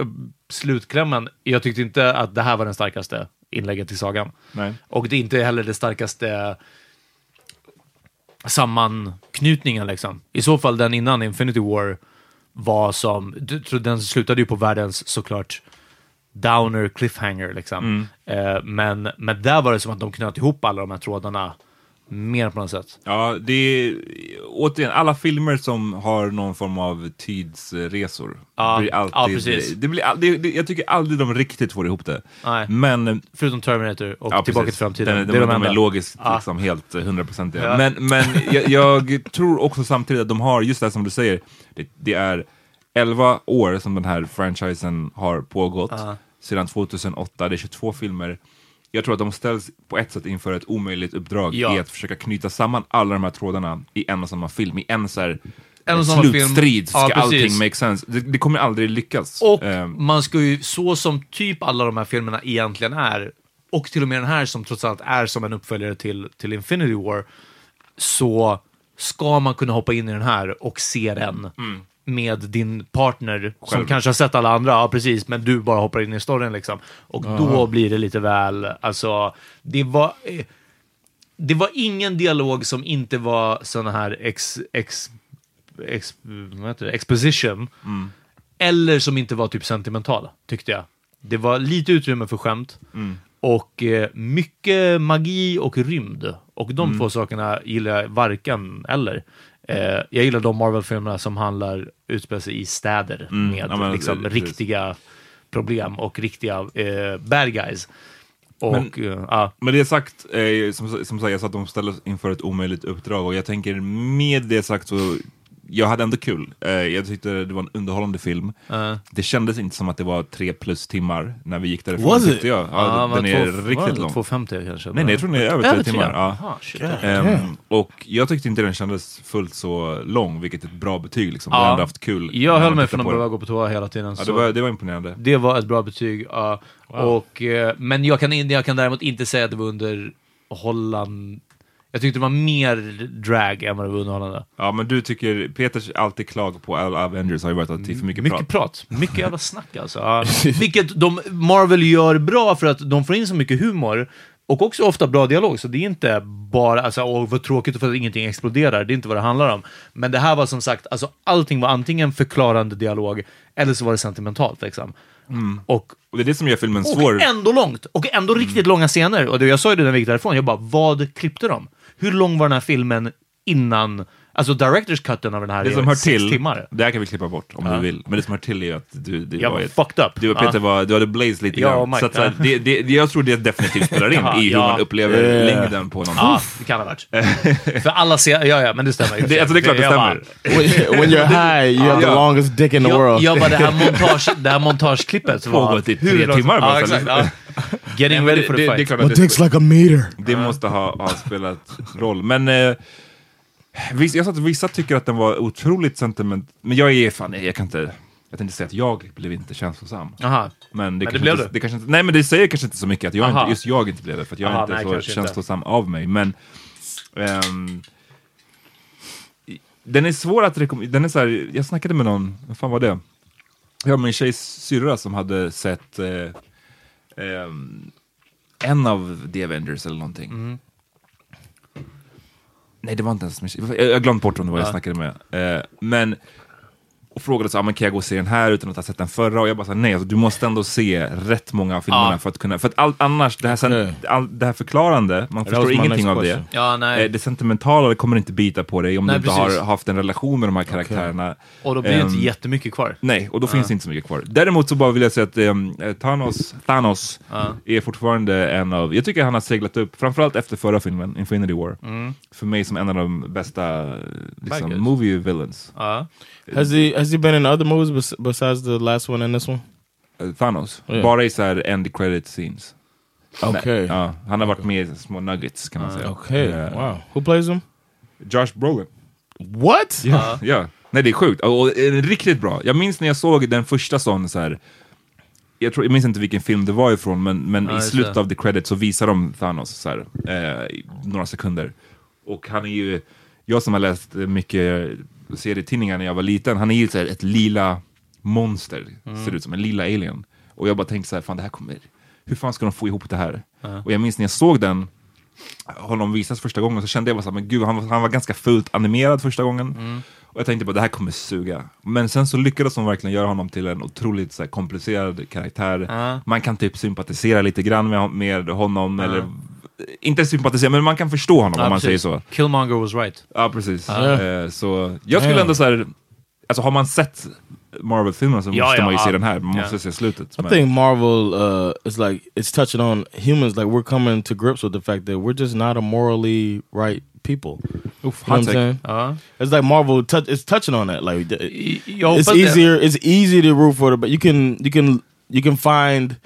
D: slutklämmen. Jag tyckte inte att det här var den starkaste inlägget i sagan.
B: Nej.
D: Och det är inte heller det starkaste sammanknutningen. Liksom. I så fall den innan Infinity War var som... du- tror Den slutade ju på världens såklart downer cliffhanger. Liksom.
B: Mm.
D: Eh, men, men där var det som att de knöt ihop alla de här trådarna mer på något sätt.
B: Ja, det är återigen alla filmer som har någon form av tidsresor.
D: Ja,
B: blir alltid,
D: ja, precis.
B: Det blir, all- det, det, jag tycker aldrig de riktigt får ihop det.
D: Nej.
B: Men
D: Förutom Terminator och
B: Ja,
D: Tillbaka
B: precis.
D: till framtiden.
B: Den,
D: det är de,
B: de,
D: enda.
B: är logiskt
D: Ja.
B: liksom, helt eh, hundraprocentiga.
D: Ja.
B: Men, men jag, jag tror också samtidigt att de har, just det här som du säger, det, det är 11 år som den här franchisen har pågått. Sedan 2008, det är 22 filmer. Jag tror att de ställs på ett sätt inför ett omöjligt uppdrag
D: Ja.
B: i att försöka knyta samman alla de här trådarna i en och samma film, i en så här
D: En
B: eh,
D: och samma film.
B: slutstrid. Ska
D: Ja, precis.
B: allting make sense? Det, det kommer aldrig lyckas.
D: Och
B: Eh,
D: man ska ju, så som typ alla de här filmerna egentligen är, och till och med den här som trots allt är som en uppföljare till, till Infinity War, så ska man kunna hoppa in i den här och se den med din partner som kanske har sett alla andra, ja precis, men du bara hoppar in i storyn liksom. Och då blir det lite väl, alltså, det var... eh, Det var ingen dialog som inte var sån här ex, ex, ex, vad heter det? exposition.
B: Mm.
D: Eller som inte var typ sentimentala, tyckte jag. Det var lite utrymme för skämt.
B: Mm.
D: Och eh, mycket magi och rymd. Och de
B: Mm.
D: två sakerna gillar jag varken eller. Eh, jag gillar de Marvel-filmerna som handlar, utspelar sig i städer med
B: Mm. ja, men,
D: liksom,
B: precis.
D: riktiga problem och riktiga eh, bad guys. Och, eh, ja.
B: Med det sagt, eh, som, som sagt, jag sa att de ställdes inför ett omöjligt uppdrag och jag tänker med det sagt så, jag hade ändå kul. Eh, jag tyckte det var en underhållande film. Det kändes inte som att det var tre plus timmar när vi gick därifrån.
A: Was it?
B: tyckte Jag. Ja, den är riktigt lång.
D: 250 kanske?
B: Nej, nej, jag tror den är över tre timmar. Ja.
D: Aha, shit.
B: Ehm, och jag tyckte inte den kändes fullt så lång, vilket är ett bra betyg. Liksom. Jag
D: Ja.
B: har ändå haft kul.
D: Jag
B: när
D: höll
B: man
D: mig
B: tittar
D: från att
B: på den.
D: behöva gå på toa hela tiden.
B: Ja, det,
D: så-
B: var, det var imponerande.
D: Det var ett bra betyg. ja. och, eh, men jag kan, in- jag kan däremot inte säga att det var underhållande. Jag tyckte det var mer drag än vad det var underhållande.
B: Ja, men du tycker, Peters alltid klag på alla Avengers har ju varit att det är för mycket,
D: Mycket prat. Mycket jävla snack alltså. Ja. Vilket de, Marvel gör bra för att de får in så mycket humor. Och också ofta bra dialog, så det är inte bara alltså, åh vad tråkigt för att ingenting exploderar, det är inte vad det handlar om. Men det här var som sagt, alltså, allting var antingen förklarande dialog, eller så var det sentimentalt liksom. Och
B: Och det är det som gör filmen
D: Och
B: Mm. svår. Mm.
D: ändå långt! Och ändå riktigt långa scener. Och det, jag sa ju det när vi gick därifrån, jag bara, vad klippte de? Hur lång var den här filmen innan, alltså director's cutten av den här
B: Det
D: är
B: som hör
D: sex
B: till,
D: timmar?
B: det här kan vi klippa bort om du vill, men det som hör till är ju att du, det
D: Jag
B: var
D: var
B: ett,
D: fucked up.
B: du och Peter
D: Ja.
B: var, du hade blaze lite
D: Ja, och
B: grann.
D: Mike,
B: så att, så här,
D: ja.
B: det, det, det- jag tror det definitivt spelar in i hur
D: Ja.
B: man upplever längden på någonting.
D: Ja, det kan ha varit. För alla ser, ja ja, men det stämmer. ju.
B: Det, alltså det är klart det
D: Jag bara-
B: stämmer.
A: when, when you're high, you have the
B: Yeah.
A: longest dick in the
D: Jag,
A: world.
D: jag bara, det här, montage, det här montageklippet var...
B: Pågått i tre
D: hur långt-
B: timmar bara,
D: ja,
B: så
D: exakt, ja.
B: Nej,
D: Getting
B: men
D: ready
B: det-
D: for
B: det-
D: the
B: det är
D: fight.
B: klart att det-
H: like a meter.
B: Det måste ha, ha spelat roll. Men eh, viss, jag sa att vissa tycker att den var otroligt sentiment... Men jag är fan, nej, jag kan inte... Jag tänkte säga att jag blev inte känslosam.
D: Aha.
B: Men det,
D: Men det
B: kanske
D: blev
B: inte,
D: du.
B: det kanske inte, Nej men det säger kanske inte så mycket att jag
D: Aha.
B: inte, just jag inte blev det, för att jag
D: Aha,
B: är
D: nej,
B: inte så
D: kanske inte.
B: känslosam av mig. Men... ehm, i- den är svår att rekommendera. Den är så här, jag snackade med någon, vad fan var det? Ja, min tjejs syrra som hade sett eh,
D: Mm.
B: ehm, en av The Avengers eller någonting. Nej, det var inte ens Michelle. Jag, jag glömde bort om det var jag snackade med. Eh, men, och frågade så, ah, men kan jag gå och se den här utan att ha sett den förra? Och jag bara, så här, nej, alltså, du måste ändå se rätt många av filmerna
D: Ja. Mm.
B: för att kunna... För att allt annars, det här, sen, all, det här förklarande, man
A: was
B: förstår
A: my
B: ingenting
A: next
B: av det.
A: question.
D: Ja, nej.
B: Eh, det sentimentala det kommer inte bita på dig om
D: Nej,
B: du inte
D: precis.
B: har haft en relation med de här karaktärerna.
D: Och då blir det inte
B: Ehm,
D: jättemycket kvar.
B: Nej, och då finns det inte så mycket kvar. Däremot så bara vill jag säga att ehm, eh, Thanos, Thanos är fortfarande en av... Jag tycker han har seglat upp, framförallt efter förra filmen, Infinity War. För mig som en av de bästa eh, liksom,
D: Baggage.
B: movie villains.
D: Ja.
A: Has he has he been in other movies bes- besides the last one and this one?
B: Eh, Thanos.
A: Ja.
B: Bara i så här end credit scenes.
A: Okay.
B: Ja, han har varit med i små nuggets kan man säga.
A: Okay.
B: Eh,
A: Wow. Who plays him?
B: Josh Brolin.
A: What?
B: Ja. ja. Nej, det är sjukt. Och, och, eh, riktigt bra. Jag minns när jag såg den första sån så här. Jag, tror, jag minns inte vilken film det var ifrån, men, men
D: Ja,
B: i
D: just
B: slutet
D: det.
B: av the credit så visar de Thanos så här, eh, i några sekunder. Och han är ju, jag som har läst eh, mycket serietidningar när jag var liten, han är ju så här, ett lila monster,
D: Mm.
B: ser ut som, en lila alien. Och jag bara tänkte så här, fan det här kommer, hur fan ska de få ihop det här? Och jag minns när jag såg den, honom visas första gången så kände jag bara så här, men gud, han, var- han var ganska fult animerad första gången.
D: Mm.
B: Och jag tänkte bara, det här kommer suga. Men sen så lyckades de verkligen göra honom till en otroligt så här, komplicerad karaktär. Man kan typ sympatisera lite grann med, hon- med honom, eller inte sympatisera, men man kan förstå honom om man säger
D: precis.
B: så.
D: Killmonger was right.
B: Ja, precis. Eh, så jag skulle ändå så här, alltså har man sett Marvel-filmerna så
D: Ja,
B: måste
D: ja,
B: man ju
D: ja.
B: se den här, man
D: Ja.
B: måste se slutet.
A: I
B: Men-
A: think Marvel uh, is like it's touching on humans. Like we're coming to grips with the fact that we're just not a morally right people. you know what I'm
B: take.
A: saying? It's like Marvel. Touch, it's touching on that. Like th-
D: Y- y- yo,
A: it's
D: but the-
A: easier. It's easy to root for it, but you can you can you can find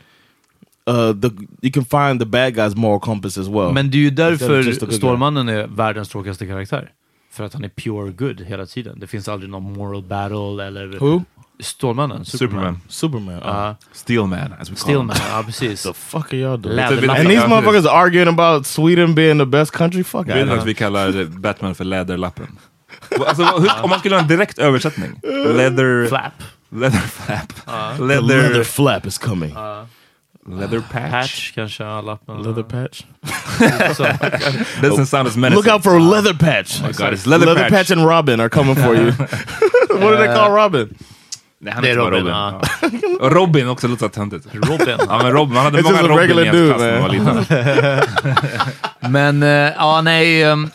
A: uh the you can find the bad guy's moral compass as well.
D: Men det är ju
A: Just a good
D: därför
A: guy.
D: Stålmannen är världens tråkigaste karaktär. För att han är pure good hela tiden. Det finns aldrig någon moral battle eller...
A: Who?
D: Stålmannen, Superman.
B: Superman. Ah.
A: Superman. Uh,
D: Ja,
B: Steelman, as we call him.
D: Steelman, ja precis.
A: the fuck are y'all doing?
D: Lab-
B: Vet du-
A: And these
B: vet du-
A: motherfuckers are arguing about Sweden being the best country. Fuck
B: Vet du
A: out.
B: att vi kallar Batman för Läderlappen? Alltså, hur, om man skulle ha en direkt översättning? Leather...
D: Flap.
B: Leather flap.
A: The
B: leather,
A: leather flap is coming.
B: leather patch.
D: Patch kanske, ja, lappen.
A: leather patch.
D: Så.
B: Doesn't sound as menacing.
A: Look out for leather patch.
B: my God, it's leather patch.
A: and Robin are coming for you. what do they call Robin?
B: Nej, han
D: Det är
B: heter bara
D: Robin,
B: Robin. Och Robin också låter så töntigt.
D: Robin.
B: Ja men Robin, han hade
A: It's
B: många
A: just a
B: Robin i
A: regular
B: hans
A: dude,
B: klass när han var liten.
D: Men, eh, ja nej. ehm,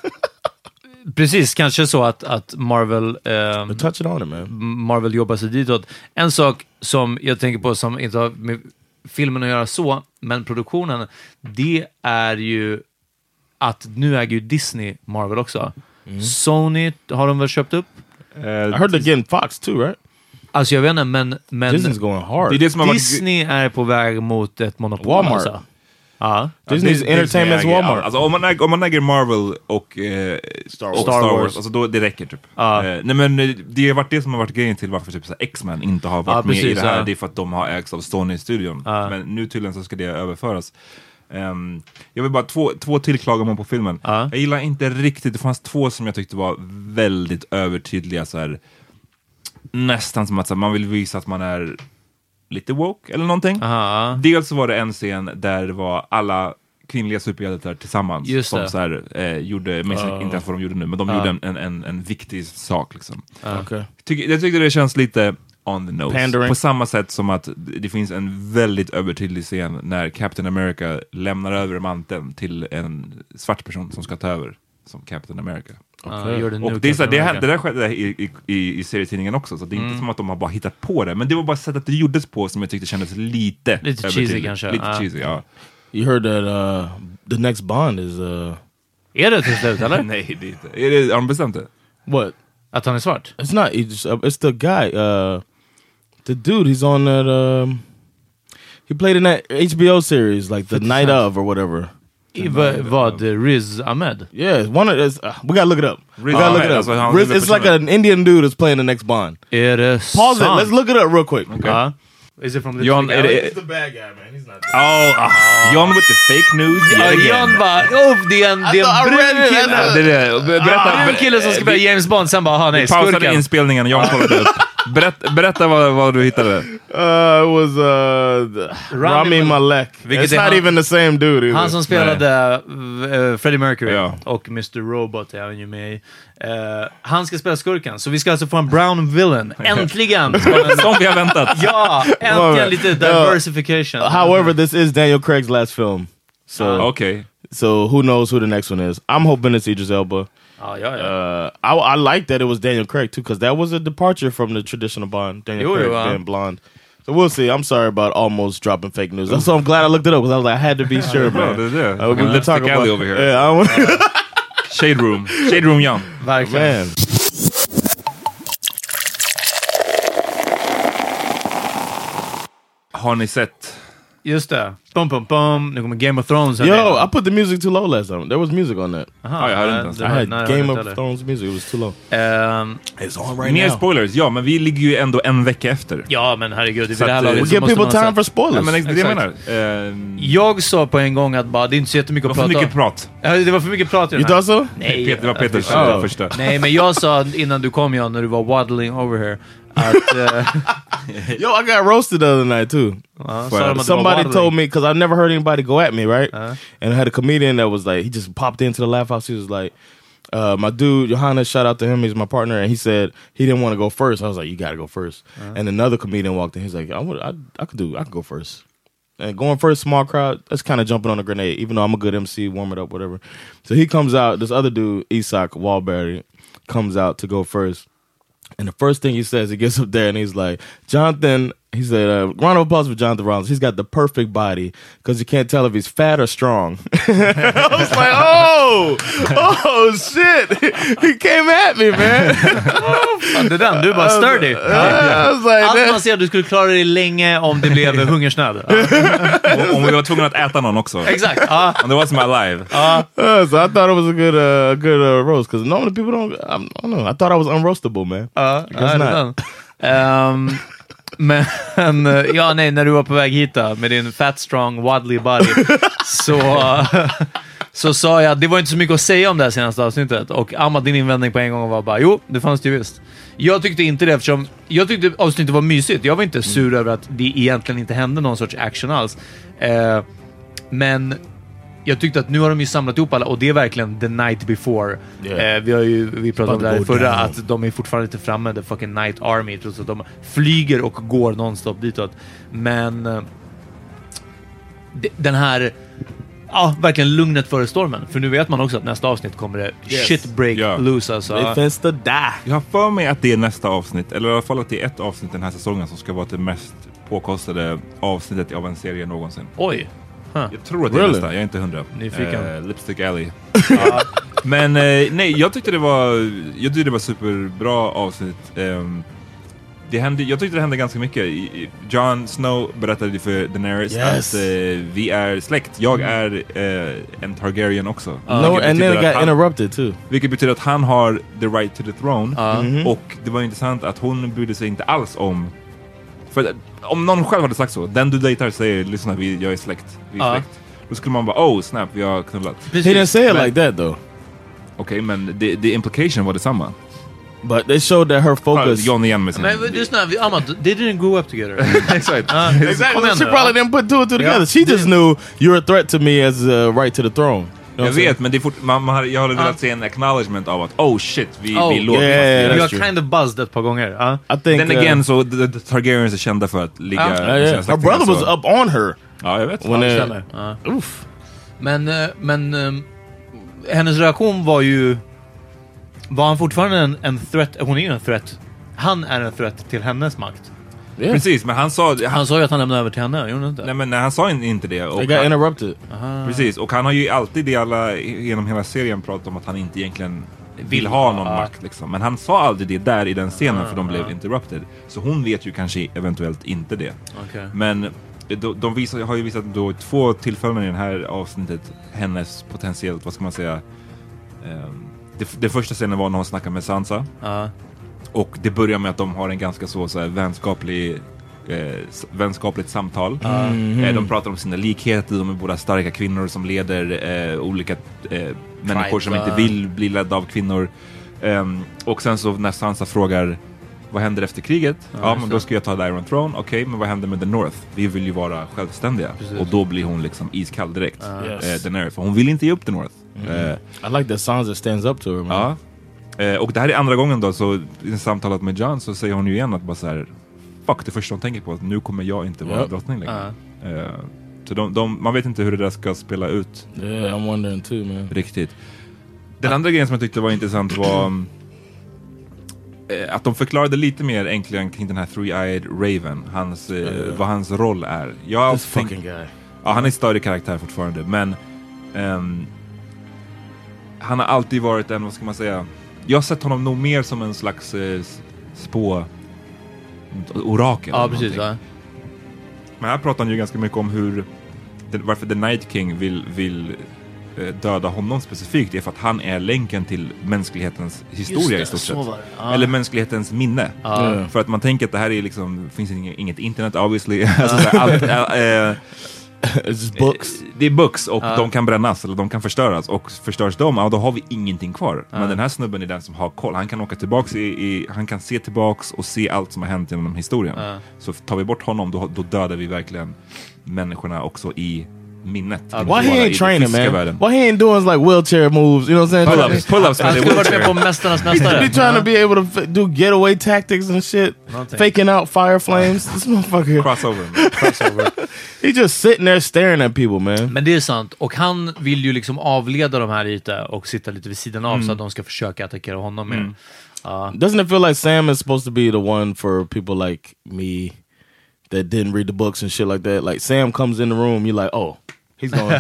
D: precis, kanske så att, att Marvel... ehm,
A: Touch it on it, man.
D: Marvel jobbar sig ditåt. En sak som jag tänker på som inte har med filmen att göra så, men produktionen, det är ju att nu äger ju Disney Marvel också.
B: Mm.
D: Sony har de väl köpt upp?
B: Eh,
A: I heard they're getting Fox too, right?
D: Alltså jag vet inte, men, men
A: Disney's going hard.
B: Det är det som har varit...
D: Disney är på väg mot ett monopol.
A: Walmart.
D: Alltså. Ja.
A: Disney's
B: Disney
A: entertainment's
B: äger-
A: Walmart.
B: Alltså, om, man äger, om man äger Marvel och, eh, Star, och
A: Wars.
B: Star
A: Star
B: Wars,
A: Wars.
B: Alltså, då, det räcker typ. Eh, nej, men eh, det har varit det som har varit grejen till varför typ, så här X-Men inte har varit
D: Ja,
B: med i
D: precis,
B: det här.
D: ja.
B: Det är för att de har ägts av Sony-studion. Men nu tydligen så ska det överföras. Ehm, jag vill bara två, två till klagomål på filmen. Jag gillar inte riktigt, det fanns två som jag tyckte var väldigt övertydliga. Så här, nästan som att så här, man vill visa att man är lite woke eller någonting.
D: Aha.
B: Dels så var det en scen där det var alla kvinnliga superhjältar tillsammans
D: Just
B: som
D: det. Ah.
B: så här, eh, gjorde, men inte ens vad de gjorde nu, men de gjorde en, en, en, en viktig sak. Liksom.
A: okay.
B: Tycker- jag tyckte det känns lite on the nose.
A: Pandering.
B: På samma sätt som att det finns en väldigt övertydlig scen när Captain America lämnar över manteln till en svart person som ska ta över som Captain America.
D: Ja, gör det nu,
B: Och det, är så här, det,
D: Captain
B: här,
D: America.
B: det där skedde i, i, i, i serietidningen också, så det är
D: Mm.
B: inte som att de har bara hittat på det. Men det var bara sättet det gjordes på som jag tyckte kändes lite
D: Lite cheesy
B: övertydligt.
D: kanske,
B: Lite
D: ja.
B: cheesy, ja.
A: You heard that uh, the next Bond is uh,
D: Är det till slut eller?
B: Nej, det är inte. Är det, har de bestämt det?
A: what?
D: Att han är svart?
A: It's not. It's, uh, it's the guy. Uh, the dude. He's on that. Um, he played in that HBO series, like the night of or whatever.
D: I, vad- vad? Riz Ahmed?
A: Yeah, one of this. Uh, we gotta look it up. we
B: Riz
A: gotta
B: Ahmed,
A: look it up.
B: that's what- how
A: Riz,
B: they
A: it's like
B: represent
A: an Indian dude is playing the next Bond.
D: Är det
A: Pause it.
D: sant?
A: Let's look it up real quick.
D: Ja. Is it from the
B: John, är det,
A: the bad guy, man. He's not.
B: oh, ah, John with the fake news yet
D: Ja,
B: again.
D: John bara oh, det är en, det är en brun kille.
B: Ja, det är det. Be- Berätta.
D: brun kille som ska spela James Bond, sen bara aha, nej,
B: Pausade
D: skurken.
B: inspelningen, John kollade upp. Berätta, berätta vad, vad du hittade.
A: Uh, it was uh, the- Rami,
D: Rami Mal-
A: Malek.
D: Vilket
A: It's
D: är
A: not
D: han-
A: even the same dude either.
D: Han som spelade eh, Freddie Mercury
B: Ja.
D: och Mr. Robot är han ju med i. Eh, han ska spela skurken, så vi ska alltså få en brown villain. Äntligen!
B: Som vi har väntat.
D: ja, äntligen lite
A: Ja.
D: diversification.
A: However, this is Daniel Craig's last film. So,
B: Okej.
A: so who knows who the next one is? I'm hoping it's Idris Elba.
D: ja, ja, ja.
A: Uh, I, I like that it was Daniel Craig too, because that was a departure from the traditional Bond. Daniel
D: It
A: Craig
D: was.
A: being blonde. So we'll see. I'm sorry about almost dropping fake news. So I'm glad I looked it up because I was like, I had to be sure,
B: Bra,
A: man.
B: det är det.
A: Uh, we
B: Fucking
A: can talk
B: Lipstick
A: about-
B: Alley over here.
A: Yeah, I don't-
B: Shade room. Shade room Jan.
D: Verkligen.
A: man.
B: Har ni sett?
D: Just det. Bum, bum, bum. Nu kommer Game of Thrones. här
A: Yo,
D: nere.
A: I put the music too low last time. There was music on that.
D: Aha,
B: Ja, Ah, jag hörde
D: nej,
B: inte ens.
D: det
A: I
D: var-
A: had
D: nej, jag
A: Game
D: hörde
A: of
D: inte heller.
A: Thrones music. It was too low.
D: Ehm,
A: It's on right
B: Mer spoilers. Ja, men vi ligger ju ändå en vecka efter.
D: ja, men herregud. Vid
B: Så
D: det här
B: att, eh,
D: laget
B: we
D: så
A: Give
D: måste
A: people
D: man ha
A: time
D: sett-
A: for
B: Ja,
A: spoilers.
B: men det är det jag menar.
D: Exakt.
B: Ehm,
D: Jag sa på en gång att bara, det är inte så jättemycket
B: det var
D: att
B: för
D: prata
B: mycket
D: om.
B: prat.
D: Ja, Det var för mycket prat i den
A: you
D: här.
A: thought so?
D: Nej,
B: Peter, det var
D: att vi
B: Peters
D: sa-
B: eh, första.
D: Nej, men jag sa innan du kom, Jan, när du var waddling over here, att... eh,
A: Yo, I got roasted the other night too.
D: ja, sa de att du var
A: Somebody
D: waddling.
A: told me because I've never heard anybody go at me, right? And I had a comedian that was like, he just popped into the laugh house. He was like, uh, "My dude, Johannes, shout out to him. He's my partner." And he said he didn't want to go first. I was like, "You got to go 1st And another comedian walked in. He's like, "I would, I, I could do, I could go first. And going first, small crowd. That's kind of jumping on a grenade. Even though I'm a good MC, warm it up, whatever. So he comes out. This other dude, Isak Walberry, comes out to go first. And the first thing he says, he gets up there and he's like, Jonathan, he said, uh, round of applause for Jonathan Rollins. He's got the perfect body because you can't tell if he's fat or strong. I was like, oh, oh, shit. he came at me, man.
D: Fan, det är den, du är bara sturdy.
A: I was like,
D: Allt man
A: that.
D: ser, att du skulle klara dig länge om det blev hungersnöd. Ja,
B: Om vi var tvungna att äta någon också.
D: exakt. Ja.
B: And that was my life.
A: Uh, so I thought it was a good, uh, good uh, roast because normally people don't, I, I don't know. I thought I was unroastable, man.
D: Ja,
A: guess
D: ja, det är
A: not.
D: den. Ehm, men, eh, ja nej, när du var på väg hit då, med din fat strong waddly body så, så sa jag att det var inte så mycket att säga om det här senaste avsnittet och Amma, din invändning på en gång var bara jo, det fanns det ju visst. Jag tyckte inte det eftersom jag tyckte avsnittet var mysigt. Jag var inte sur över att det egentligen inte hände någon sorts action alls. Eh, men jag tyckte att nu har de ju samlat ihop alla och det är verkligen the night before.
A: Yeah.
D: Eh, vi, har ju, vi pratade om det här i
A: About to go
D: förra,
A: down.
D: att de är fortfarande inte framme, the fucking night army, trots att de flyger och går nonstop ditåt. Men eh, de- den här... Ja, verkligen lugnet före stormen. För nu vet man också att nästa avsnitt kommer det
A: Yes.
D: shit break
B: Ja.
D: loose alltså.
A: They fenced to die.
B: Jag har för mig att det är nästa avsnitt, eller i alla fall att det är ett avsnitt den här säsongen som ska vara det mest påkostade avsnittet av en serie någonsin.
D: Oj!
B: Jag tror att det är
A: Really?
B: nästa, jag är inte hundra.
D: Nyfiken.
B: Eh, Lipstick Alley. Ja. Men eh, nej, jag tyckte det var, jag tyckte det var superbra avsnitt. Ehm, det hände, jag tyckte det hände ganska mycket. I- i- Jon Snow berättade ju för Daenerys
A: Yes.
B: att eh, vi är släkt. Jag är eh, en Targaryen också.
A: No,
B: Vilket
A: and then
B: betyder
A: it
B: att
A: got
B: han-
A: interrupted too.
B: Vilket betyder att han har the right to the throne.
D: Ja.
A: Mhm.
B: Och det var intressant att hon brydde sig inte alls om... För att, om någon själv hade sagt så, den du dejtar säger lyssna, vi, jag är släkt. Vi är
D: Ja.
B: släkt. Då skulle man bara oh snap, vi har knullat. Okej,
A: He didn't say it like that though.
B: men the, the implication var detsamma.
A: But they showed that
B: Fan,
A: her focus.
B: John igen med sin...
D: Men lyssna, vi- Amma, they didn't grow up together.
B: Exakt.
D: Kom
A: Exactly.
D: igen
A: She
D: nu,
A: probably didn't put two and two together. She just knew you're a threat to me as a right to the throne. You
B: Jag
A: know what I'm saying?
B: vet, men det är fort, man, man, hade- jag hade velat se en acknowledgement av att oh shit, vi,
D: Oh,
B: vi låg
A: yeah, yeah,
D: Vi
A: that's
D: har
A: true.
D: kind of buzzed ett par gånger. ja.
A: I think.
B: Then
A: uh,
B: again, så the, the Targaryens är kända för att ligga...
D: Ja.
B: med
A: yeah,
B: sina
A: yeah. her
B: släktingar,
A: brother was
B: så-
A: up on her
B: Ja, jag vet.
A: when
D: det
A: uh,
D: stämmer. Ja. Men, eh, men eh, hennes reaktion var ju... Var han fortfarande en, en threat? Hon är ju en threat. Han är en threat till hennes makt.
B: Precis, men han sa... Han,
D: Han sa ju att han lämnade över till henne, gjorde han inte?
B: nej, men nej, han sa in- inte det. Och
A: it got
B: han,
A: interrupted.
B: Precis, och han har ju alltid i alla, genom hela serien pratat om att han inte egentligen vill ha någon makt liksom. Men han sa aldrig det där i den scenen för de blev interrupted. Så hon vet ju kanske eventuellt inte det.
D: Okej.
B: Men de, de visar, har ju visat då två tillfällen i det här avsnittet hennes potentiellt, vad ska man säga, ehm, det, det första scenen var när hon snackar med Sansa.
D: Ja.
B: Och det börjar med att de har en ganska så, så här, vänskaplig eh, s- vänskapligt samtal. Eh, de pratar om sina likheter, de är båda starka kvinnor som leder eh, olika eh, människor som inte vill bli ledda av kvinnor. Ehm, och sen så när Sansa frågar Vad händer efter kriget?
G: Ja,
B: Ja,
G: just
B: men
G: det.
B: då ska jag ta The Iron Throne. Okej, men vad händer med The North? Vi vill ju vara självständiga.
A: Precis.
B: Och då blir hon liksom iskall direkt.
A: Ah. Yes.
B: Eh, Daenerys. För hon vill inte ge upp The North.
G: Mm.
A: Mhm.
B: Eh,
A: I like that Sansa stands up to her. Man.
B: Ja. Eh, och det här är andra gången då, så i samtalet med John så säger hon ju igen att bara så här, fuck det första hon tänker på, att nu kommer jag inte vara
A: Yep.
B: drottning längre. Eh, så de, de, man vet inte hur det där ska spela ut.
A: Yeah, I'm wondering too man.
B: Riktigt. Den andra grejen som jag tyckte var intressant var mm, eh, att de förklarade lite mer enklare kring den här Three-Eyed Raven, hans, eh,
A: Yeah.
B: vad hans roll är. Jag har
A: This
B: tänkt-
A: fucking guy.
B: Ja, han är en större karaktär fortfarande, men ehm, han har alltid varit en, vad ska man säga, jag har sett honom nog mer som en slags eh, s- spå orakel.
D: Ja,
B: eller
D: precis.
B: någonting.
D: Ja.
B: Men här pratar han ju ganska mycket om hur det, varför The Night King vill, vill eh, döda honom specifikt. Det är för att han är länken till mänsklighetens historia
A: det,
B: i stort
A: så
B: sett.
A: var det. Ah.
B: Eller mänsklighetens minne.
A: Ah. Ja.
B: För att man tänker att det här är liksom, finns inget, inget internet obviously. alltså, så här, allt, eh, eh,
A: books.
B: Eh, Det är books och
A: Ja.
B: de kan brännas eller de kan förstöras och förstörs de, ja då har vi ingenting kvar.
A: Ja.
B: Men den här snubben är den som har koll. Han kan åka tillbaks, i, i, han kan se tillbaks och se allt som har hänt genom historien.
A: Ja.
B: Så tar vi bort honom då, då dödar vi verkligen människorna också i minnet. Inte
A: Why he
B: bara i
A: ain't
B: den
A: training
B: fysiska
A: man?
B: världen.
A: Why he ain't doing like wheelchair moves? You know what I'm saying?
B: Pull-ups, pull-ups med
D: Han
B: det
D: skulle varit med
B: wheelchair.
D: på Mästarnas
A: They,
D: Mästare.
A: they trying to be able to f do getaway tactics and shit,
D: Nothing.
A: faking out fire flames. this motherfucker.
B: Crossover.
A: he just sitting there staring at people, man.
D: Men det är sant. Och han vill ju liksom avleda de här lite och sitta lite vid sidan av
A: Mm.
D: så att de ska försöka attackera honom mer.
A: Mm.
D: Ja.
A: Doesn't it feel like Sam is supposed to be the one for people like me that didn't read the books and shit like that? Like Sam comes in the room, you're like, oh, he's going.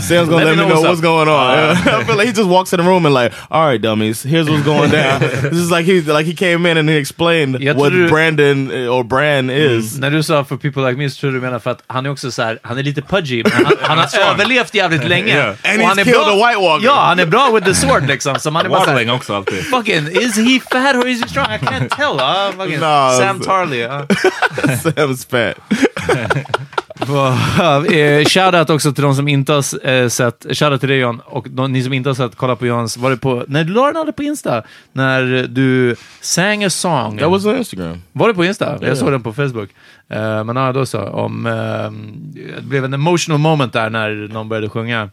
A: Sam's gonna let, me know what's,
D: up.
A: going on.
D: Ah.
A: I feel like he just walks in the room and like, all right, dummies, here's what's going down. this is like he like he came in and he explained
D: Jag
A: what
D: tror du-
A: Brandon eh, or Bran is.
D: Mm. När du sa för people like me så tror jag du menar för att han är också så här, han är lite pudgy, men han, han har överlevt jävligt länge.
A: Yeah. And
D: Och
A: he's
D: han är
A: killed a White Walker.
D: Ja, han är bra with the sword liksom. Så man är bara så
B: Waddling
D: här,
B: också alltid.
D: fucking, is he fat or is he strong? I can't tell. Ah, fucking,
A: Nah,
D: Sam
A: så-
D: Tarly. ah.
A: Sam's fat.
D: Eh, Shoutout också till de som inte har eh, sett, shoutout till dig Jan, och de, ni som inte har sett, kolla på Jans, var det på, när du la den aldrig på Insta? När du sang a song.
A: That was on Instagram.
D: Var det på Insta?
A: Yeah.
D: Jag såg den på Facebook. Eh, men ja, då så. Om, ehm, det blev en emotional moment där när någon började sjunga.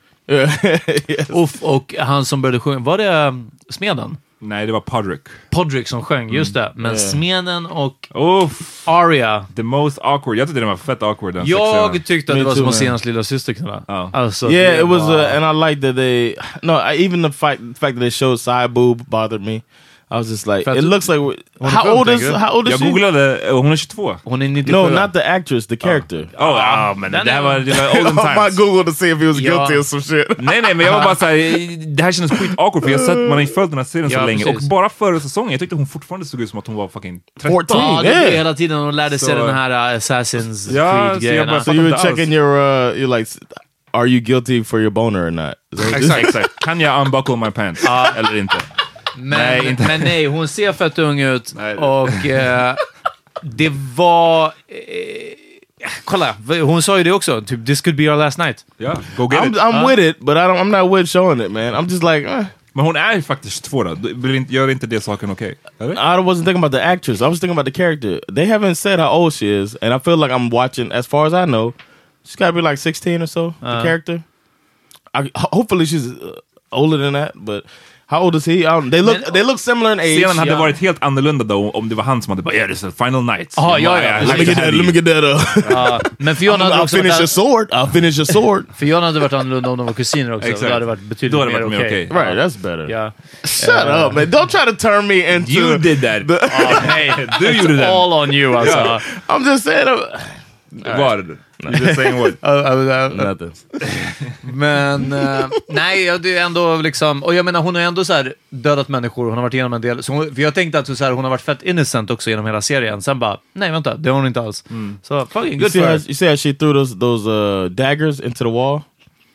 D: Uff, och han som började sjunga, var det ehm, Smeden?
B: Nej, det var Podrick.
D: Podrick som sjöng, just det. Men
B: Yeah.
D: Smeden och
B: Uff,
D: Aria.
B: the most awkward. Jag tyckte den var fett awkward den
D: Jag
B: sexscenen.
D: tyckte att
A: Me
D: det var
A: too,
D: som att
A: man.
D: se hans lilla syster knulla.
B: Ja.
D: Alltså,
A: yeah,
D: det
A: it was,
D: var-
A: uh, and I like that they. No, I, even the fact the fact that they showed side boob bothered me. I was just like,
D: Fat-
A: it looks like. we-
D: Wanna
A: How
D: film
A: old is
D: thing, eh?
A: how old is
B: Jag
A: she?
B: googlade, och hon är 22.
D: Hon är 97.
A: No, not the actress, the character.
B: Oh, ah, men det
D: Den
B: här
D: är-
B: var, det var olden times.
A: Google to see if he was
D: Ja. guilty or
A: some shit.
B: Nej nej men jag var bara såhär, det här kändes skit awkward för jag har sett, man har ju följt den här serien
D: Ja,
B: så länge
D: precis.
B: och bara förra säsongen, jag tyckte hon fortfarande såg ut som att hon var fucking 13.
A: 14.
D: Ja, det blev
A: Yeah.
D: hela tiden hon lärde sig
B: Så-
D: den här uh, Assassin's
B: Ja, så jag
D: Creed-grejerna.
B: bara-
A: So you were
B: Fucking
A: checking
B: does.
A: your, uh, you like, are you guilty for your boner or not? Is that-
B: Exakt, exakt. Kan jag unbuckle my pants? Eller inte?
D: Men
B: Nej,
D: nej,
B: inte.
D: men nej hon ser fett ung ut
B: Nej.
D: och eh, det var... Eh, kolla, hon sa ju det också. Typ, this could be our last night.
B: Ja, go get
A: I'm,
B: it.
A: I'm with it, but I don't, I'm not with showing it, man. I'm just like, eh.
B: Men hon är ju faktiskt 22 då, Det blir inte- gör inte det saken okej? Eller?
A: I wasn't thinking about the actress. I was thinking about the character. They haven't said how old she is, and I feel like I'm watching. As far as I know, she's got to be like 16 or so. The character. I, ho- hopefully, she's uh, older than that. But how old is he? I don't, they look.
D: Men-
A: they look similar in age.
B: Scenen hade
A: Yeah.
B: varit helt annorlunda då om det var han som hade bara yeah, this is final night.
D: Ja,
B: Jag
D: ja,
B: bara,
D: ja.
B: "Ah,
A: Let me
B: det
A: get
B: här
A: that.
B: är
A: Let me
B: ju-
A: get that. Uh,
D: Ja, men Fiona hade
A: I'll
D: också varit,
A: finish your
D: an-
A: sword. I'll finish your sword.
D: Fiona hade varit annorlunda om de var kusiner också.
B: Exakt.
D: Då hade det varit
B: Då
D: betydligt
B: hade det
D: mer
B: varit
D: okej.
B: mer okej.
A: Right, that's better.
D: Ja.
A: Shut up, man! Don't try to turn me into.
B: You did that! Ah, nej, du gjorde
D: It's
B: den!
D: all on you alltså.
B: Ja.
A: I'm just saying. uh,
B: Var? You just saying what?
A: Nothing.
D: Men eh, nej, jag- det är ändå liksom... Och jag menar, hon har ju ändå så här dödat människor. Hon har varit igenom en del. Så hon, för jag tänkte att så här, hon har varit fett innocent också genom hela serien. Sen bara, nej vänta, det har hon inte alls.
B: Mm.
D: Så fucking
A: You
D: good
A: see,
D: for
A: how,
D: her.
A: you see how she threw those those uh, daggers into the wall.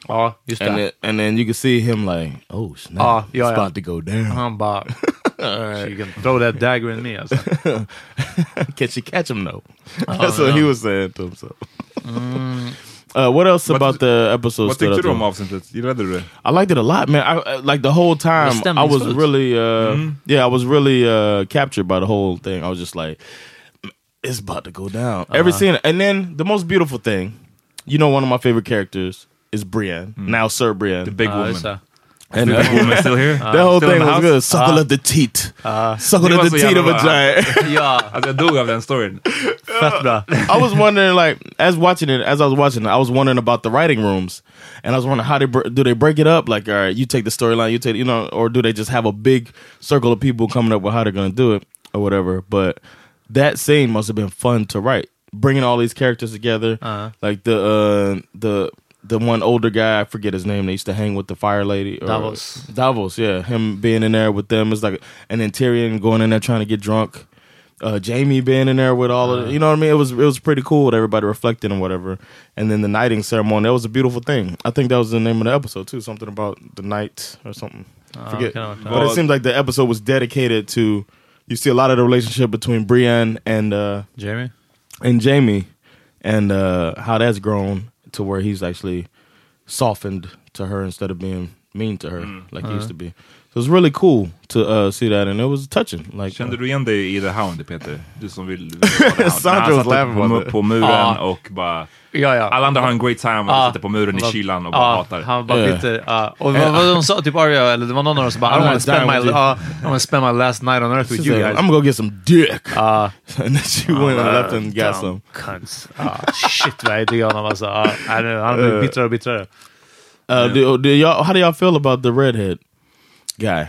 D: Ja, just
A: and
D: det.
A: then, and then you can see him like, oh snap,
D: Ah, yeah, Uh-huh.
A: it's
D: yeah.
A: about to go down.
D: Han bara... She can throw that dagger in me alltså.
A: Can she catch him though? That's what he was saying to himself. Uh, what else about the episode
B: Vad
A: stood
B: tyckte
A: out
B: du
A: to
B: om
A: you?
B: avsnittet? Gillade du det?
A: I liked it a lot, man. I, I- like the whole time,
B: It was
A: I was
B: stämningsfullt.
A: really, uh,
B: Mhm.
A: yeah, I was really uh, captured by the whole thing. I was just like, it's about to go down. Every
B: Uh-huh.
A: scene, and then the most beautiful thing, you know, one of my favorite characters is Brienne. Now, Sir Brienne, the
B: big Ah, woman. it's, uh,
A: and
B: the
A: uh,
B: big woman still here?
A: that whole
B: Still in the
A: thing was
B: house?
A: good. Suckle
B: Ah.
A: of the teat, suckle
B: Det var så
A: of the teat
B: jävla
A: of a
B: bra.
A: giant.
B: ja, alltså jag dog av den storyn. Fett bra.
A: I was wondering, like, as watching it, as I was watching it, I was wondering about the writing rooms, and I was wondering how they br- do they break it up? Like, all right, you take the storyline, you take, you know, or do they just have a big circle of people coming up with how they're gonna do it or whatever? But that scene must have been fun to write, bringing all these characters together, like the uh, the the one older guy, I forget his name, they used to hang with the fire lady. Or,
D: Davos.
A: Davos, yeah, him being in there with them is like, and then Tyrion going in there trying to get drunk. Uh, Jamie being in there with all of, you know what I mean? It was it was pretty cool with everybody reflecting and whatever. And then the knighting ceremony, that was a beautiful thing. I think that was the name of the episode too, something about the knight or something.
D: Ah,
A: Forget.
D: okay, okay.
A: But it seemed like the episode was dedicated to. You see a lot of the relationship between Brienne and uh,
D: Jamie?
A: and Jamie, and uh, how that's grown to where he's actually softened to her instead of being mean to her
D: Mm.
A: like he
B: Uh-huh.
A: used to be. So it's really cool to uh, see that, and it was touching. Like
B: Kände
A: uh,
B: du igen dig i The Hound, Peter? Du som vill... vill
A: Sandra
B: Han
A: was
B: satte
A: laughing
B: på,
A: about
B: mu-
A: it.
B: på muren
D: Ja.
B: och bara...
D: Ja, ja.
B: Alla andra har en great time och
D: Ja.
B: han sitter på muren i
D: Bara-
B: kylan och bara
D: ja,
B: hatar det.
D: Han bara
B: Ja.
D: bitter. ja. Och vad, vad de sa, typ Arya, eller det var någon av dem som bara
A: I
D: I
A: don't
D: don't
A: wanna
D: wanna spend
A: die
D: my,
A: with you."
D: ja, I wanna spend my last night on earth
A: She
D: with you
A: said,
D: guys.
A: I'm gonna go get some dick. and then she went and
D: Ah,
A: left and got
D: dumb
A: some.
D: Cunts. Ah, shit vad jag är arg honom alltså. Ah, nej, nej, han blir
A: Eh.
D: bittrare och bittrare.
A: Uh, do, do y'all, how do y'all feel about the redhead guy?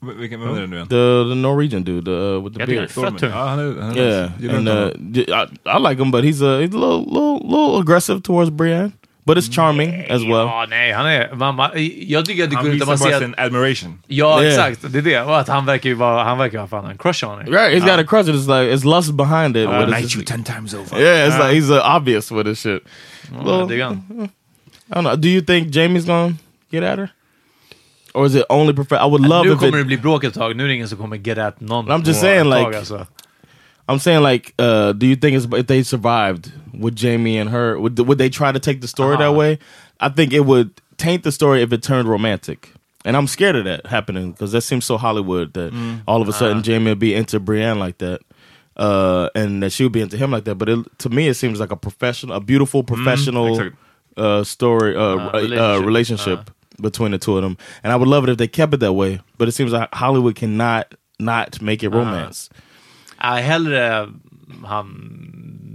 B: Vil- Vilken vem är det nu igen?
A: The the Norwegian dude the, uh, with the
B: Jag tycker
A: beard.
B: han är fett tung. Ja, han är- han är
A: yeah,
B: nice. Gillar
A: and
B: inte
A: uh, d- I, I like him, but he's a he's a little little, little aggressive towards Brienne, but it's charming as well.
D: Ja, nej, han är... Mamma, jag tycker att det är
B: Han
D: gulligt
B: visar
D: att man
B: bara
D: ser
B: sin
D: att...
B: admiration.
D: Ja,
A: Yeah.
D: exakt. Det är det. Och att han verkar ju vara... Han verkar ju ha fan en crush on henne.
A: Right, he's got a crush. It's like it's lust behind it.
D: I will
A: but
D: knight
A: it's
D: you 10 times over.
A: Yeah, it's
D: Ah.
A: like he's uh, obvious with his shit.
D: Ja,
A: Little-
D: det är han.
A: I don't know. Do you think Jamie's gonna get at her, or is it only perfect? I would love
D: Nu
A: if it,
D: kommer det bli bråk ett tag. Nu är det ingen som kommer get at någon
A: I'm just
D: på
A: saying,
D: ett tag,
A: like-
D: alltså.
A: I'm saying like, uh, do you think it's, if they survived, would Jamie and her would would they try to take the story
B: Uh-huh.
A: that way? I think it would taint the story if it turned romantic, and I'm scared of that happening because that seems so Hollywood that
B: Mm.
A: all of a sudden Jamie would be into Brienne like that, uh, and that she would be into him like that. But it, to me, it seems like a professional, a beautiful professional
B: exakt.
A: uh, story, uh,
B: Mm-hmm. Uh,
A: uh,
B: relationship.
A: relationship,
B: Uh-huh.
A: uh, relationship between the two of them. And I would love it if they kept it that way, but it seems like Hollywood cannot not make it
B: Uh-huh.
A: romance.
D: Ja, hellre han...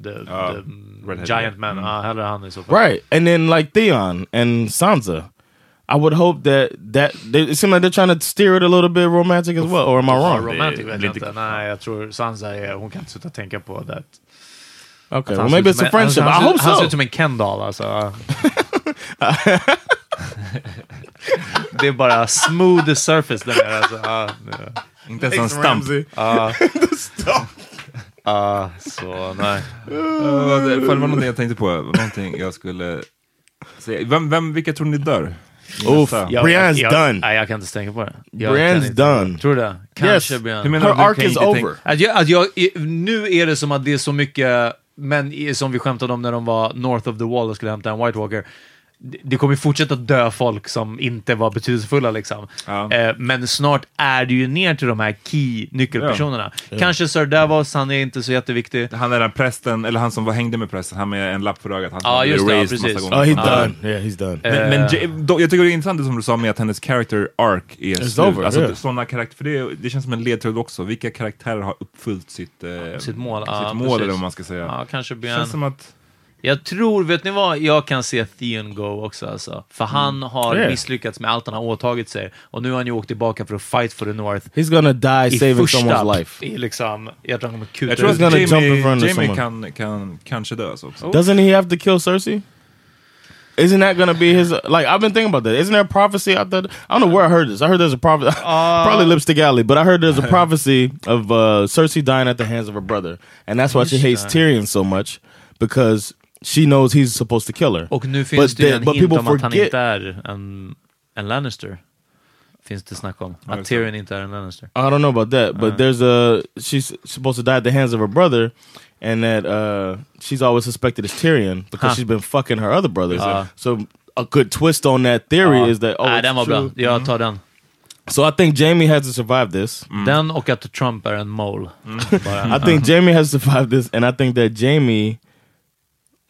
D: The, the
A: redhead,
D: giant man. Ja, hellre han i så fall.
A: Right. And then like Theon and Sansa. I would hope that that they, it seems like they're trying to steer it a little bit romantic as well. Or am I
D: Ja,
A: wrong?
D: romantic vet jag inte. Nej, jag tror Sansa är... Hon kan inte sluta tänka på det.
A: Okay. Well, maybe it's a friendship.
D: Han,
A: I hope
D: han ser
A: so.
D: ut som en Kendall alltså. det är bara smooth surface där nere. Alltså. Ja, det-
B: Inte ens en Thanks, stamp. Ramsey.
D: Ja.
B: The stamp.
D: Ja, så nej.
B: Eh, vad- fan, det var någonting jag tänkte på. Någonting jag skulle säga. Vem, vem, vilka tror ni dör?
A: Oof, Brienne's
D: jag,
A: done.
D: Nej, jag kan inte tänka på det. Jag kan
A: Brienne's
D: inte.
A: done.
D: Tror du det? Kanske Brienne.
A: Hur menar Her du? Du arc kan is inte tänka- over.
D: Att jag, att jag, i- nu är det som att det är så mycket män i- som vi skämtade om när de var north of the wall och skulle hämta en White Walker. Det det kommer fortsätta dö folk som inte var betydelsefulla. Liksom. Eh, men snart är det ju ner till de här key-nyckelpersonerna.
B: Ja.
D: Kanske Sir Davos, han är inte så jätteviktig.
B: Han är den prästen, eller han som var hängde med prästen, han med en lapp för ögat. Han som
D: Ja,
B: hade
D: just det, ja,
B: erased massa
D: precis.
B: gånger.
D: Ja, he's
B: Ja.
D: done.
A: Yeah, Oh, he's done.
B: Men, men
D: Eh.
B: J- då, jag tycker det är intressant det som du sa med att hennes character arc är
A: It's
B: slut.
A: over,
B: alltså,
A: yeah.
B: såna karaktär, för det, det känns som en ledtråd också. Vilka karaktärer har uppfyllt sitt, eh,
D: sitt mål,
B: sitt
D: ja,
B: mål
D: precis.
B: eller vad man ska säga.
D: Ja, kanske Björn.
B: Känns som att...
D: Jag tror, vet ni vad, jag kan se Theon go också alltså. För han har
A: Mm. Yeah.
D: misslyckats med allt han har åtagit sig. Och nu har han ju åkt tillbaka för att fight for the North.
A: He's gonna die
D: I
A: saving
D: första-
A: someone's life.
D: I liksom, jag tror han kommer kuta
B: Jag tror
D: ut.
B: att Jamie, Jamie kan, kan kanske dö alltså också.
A: Doesn't he have to kill Cersei? Isn't that gonna be his? Like I've been thinking about that. Isn't there a prophecy out there? I don't know where I heard this. I heard there's a prophecy, probably Lipstick Alley, but I heard there's a prophecy of uh, Cersei dying at the hands of her brother, and that's why she hates Tyrion so much because she knows he's supposed to
D: Oh,
A: kill her.
D: Och nu finns
A: But
D: det ju
A: the-
D: en
A: but
D: hint
A: people
D: om att han
A: forget-
D: inte är en, en Lannister. Finns det snack om.
A: Ja,
D: Att Tyrion inte är en Lannister.
A: I don't know about that, but
D: Uh.
A: there's a she's supposed to die at the hands of her brother, and that uh, she's always suspected as Tyrion because
D: Huh.
A: she's been fucking her other brothers.
D: Uh.
A: so a good twist on that theory
D: Ja.
A: is that oh,
D: Nej,
A: it's
D: den var
A: true. Mm.
D: bra. Jag tar den.
A: So I think Jamie has to survive this.
D: Den och att Trump är en mole.
A: Mm. I think
B: Uh-huh.
A: Jamie has survived this, and I think that Jamie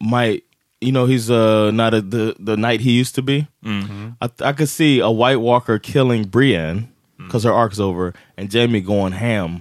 A: might, you know, he's uh, not a, the the knight he used to be.
B: Mm-hmm.
A: I, I could see a White Walker killing Brienne because her arc's over, and Jamie going ham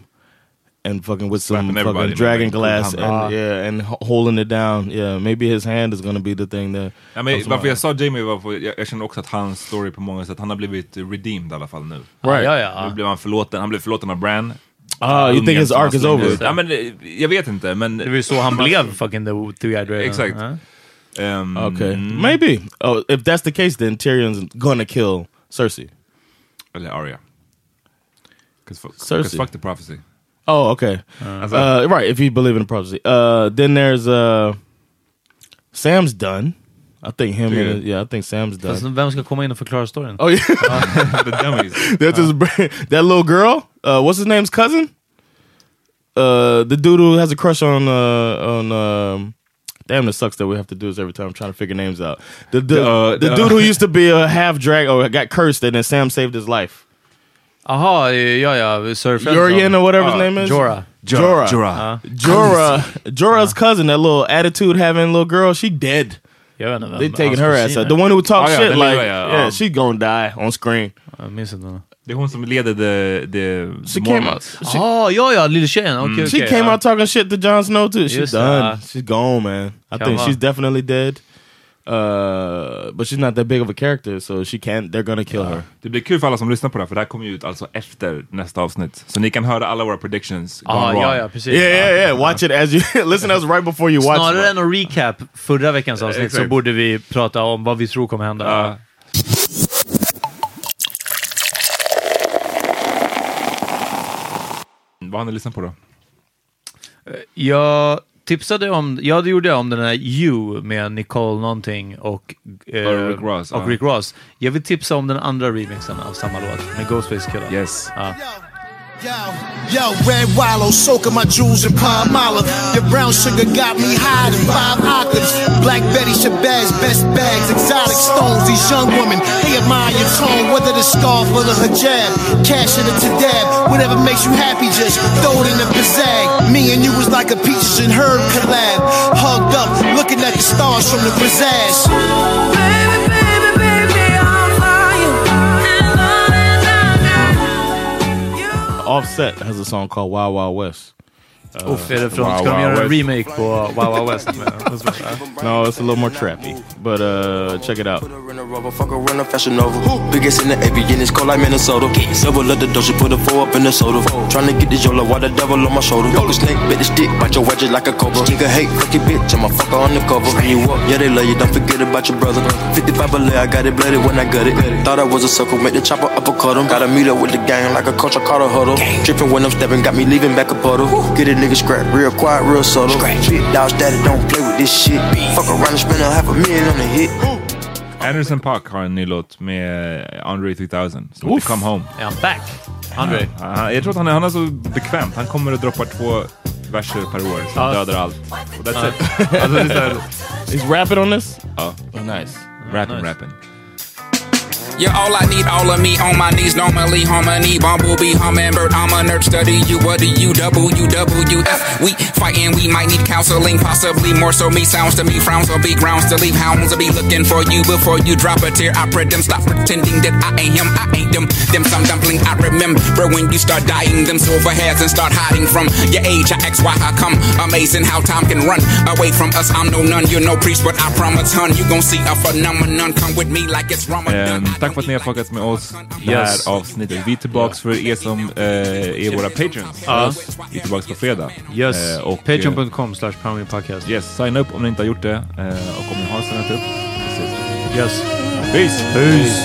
A: and fucking with some
B: Slapping everybody
A: fucking
B: in the
A: dragon
B: ring.
A: glass
B: Cool
A: and
B: hand.
A: yeah, and ho- holding it down. Yeah, maybe his hand is gonna be the thing that.
B: Ja, men
A: comes
B: varför
A: around.
B: jag sa Jamie var för jag, jag känner också att hans story på många sätt, han har blivit redeemed i alla fall nu.
D: Ja, ja, ja.
B: Nu blev han förlåten, han blev förlåten av Bran.
A: Ah, you think his
B: Ungen
A: arc is
B: som han slängde
A: over?
B: ut. Ja, men, eh, jag vet inte, men...
D: Det var ju så han blev fucking the two-eyed dragon.
B: Exakt.
D: Ja.
B: Ehm,
A: Okay, maybe. Oh, if that's the case, then Tyrion's gonna kill Cersei.
B: Eller Arya. Cause fuck,
A: Cersei.
B: 'cause fuck the prophecy.
A: Oh, okay.
B: Alltså,
A: Uh, right, if you believe in the prophecy. Uh, then there's uh, Sam's done. I think him.
B: Yeah.
A: And, yeah, I think Sam's
D: Fast
A: done.
D: Alltså, vem ska komma in och förklara storyn?
A: Oh yeah,
B: the dummies.
A: that's his brain. that little girl. Uh, what's his name's cousin? Uh, the dude who has a crush on uh, on. Um, damn, it sucks that we have to do this every time. I'm trying to figure names out. The the,
B: Uh,
A: the
B: uh.
A: dude who used to be a half drag or got cursed, and then Sam saved his life.
D: Aha, ja, ja. Sir
A: Yorian or whatever his name is.
D: Jorah.
A: Jorah.
B: Jorah.
A: Jorah. Jorah's cousin, that little attitude having little girl, she dead.
D: Jag vet inte vem
A: They taking
D: hans
A: her ass
D: kusin
A: out.
D: är.
A: The one who talk
B: Oh, yeah,
A: shit
B: the
A: like,
B: Leroy, uh,
A: yeah,
B: um,
A: she gonna die on screen.
D: Jag minns inte. honom.
B: Det är hon som leder the... the
A: She came out.
B: Mormons.
A: She,
D: Jaha, ja, ja. Lilltjejen. Okej, okej.
A: Mm. she came
D: ja.
A: out talking shit to Jon Snow too. She's
D: uh, Yes,
A: done.
D: uh,
A: she's gone, man. I
D: come
A: think she's
D: on.
A: definitely dead. Uh, but she's not that big of a character, so she can't. They're gonna kill her.
B: Det blir kul för alla som lyssnar på det här, för det här kommer ju ut alltså efter nästa avsnitt. Så ni kan höra alla våra predictions.
A: Ah,
D: Ja,
B: gone
D: ja,
B: wrong.
D: ja. Precis.
A: Yeah, yeah, yeah. Watch it as you listen. to us right before you watch.
D: Snarare
A: it.
D: än att recap förra veckans avsnitt så
B: Exakt.
D: borde vi prata om vad vi tror kommer hända.
B: Ja. Vad har ni lyssnat på då?
D: Jag tipsade om, ja det gjorde jag om den här You med Nicole någonting och, eh,
B: Och Rick Ross,
D: och
B: ja.
D: Rick Ross. Jag vill tipsa om den andra remixen av samma låt med Ghostface Killah.
B: Yes.
D: Ja.
I: Yo, yo, red wallow, soaking my jewels in palm olive. Your brown sugar got me high than five octaves. Black Betty Shabazz, best bags, exotic stones. These young women, they admire your tone, whether the scarf or the hijab. Cash it to dab, whatever makes you happy, just throw it in the pizzag. Me and you was like a peaches and herb collab. Hugged up, looking at the stars from the pizzazz.
A: Offset has a song called Wild Wild West. Uh,
D: Uff, är det från,
B: Wow,
D: ska de
B: wow,
D: göra en
B: West.
D: remake på Wow Wow West?
A: No, it's a little more trappy, but uh, check it out.
I: Put her in a rubber, fuck her in a fashion over. Biggest in the AP, and it's cold like Minnesota. Several of the dough, she put a four up in the soda. Tryna get this Yola while the devil on my shoulder. Yola snake, bit the stick, bite your wedges like a cobra. Nigga hate, fuck your bitch, I'm a fucker on the cover. When you up, yeah, they love you, don't forget about your brother. 55 belay, I got it blooded when I got it. Thought I was a sucker, make the chopper uppercut him. Gotta meet up with the gang like a coach, I caught a huddle. Dripping when I'm stepping, got me leaving back a bottle. Get a nigga scrap, real quiet, real subtle. Big dogs, daddy, don't play with this shit. Fuck around and spend a half a million on the hit.
B: Anderson Park har en ny låt med Andre 3000 som heter Come Home.
D: Är han back? Andre?
B: Ah, jag tror att han är, han är så bekvämt. Han kommer och droppar två verser per år som
D: Ja.
B: dödar allt. Och that's it. Alltså, det är så här,
A: He's rapping on this.
B: ja,
A: Oh, nice.
B: rapping, rapping.
I: Yeah, all I need, all of me on my knees. Normally harmony, bumblebee, hummingbird. I'm a nerd, study you. What do you double? You W F. We fighting, we might need counseling, possibly more. So me sounds to me frowns will be grounds to leave. Hounds will be looking for you before you drop a tear. I pray them stop pretending that I ain't him. I ain't them. Them some dumpling. I remember when you start dying them silver hairs and start hiding from your age. I ask why I come. Amazing how time can run away from us. I'm no nun, you're no priest, but I promise, hun, you gon' see a phenomenon. Come with me like it's Ramadan.
B: Ehm, tack för att ni har fuckats med oss det här
D: Yes.
B: avsnittet. Vi är tillbaka för er som eh, är våra patrons. Vi är tillbaka på fredag.
D: Yes.
B: Eh, och, eh,
D: Patreon.com slash Powermeal Podcast.
B: Yes, sign upp om ni inte har gjort det. Eh, och om ni har signat upp, vi ses.
D: Yes.
B: Peace!
D: Peace.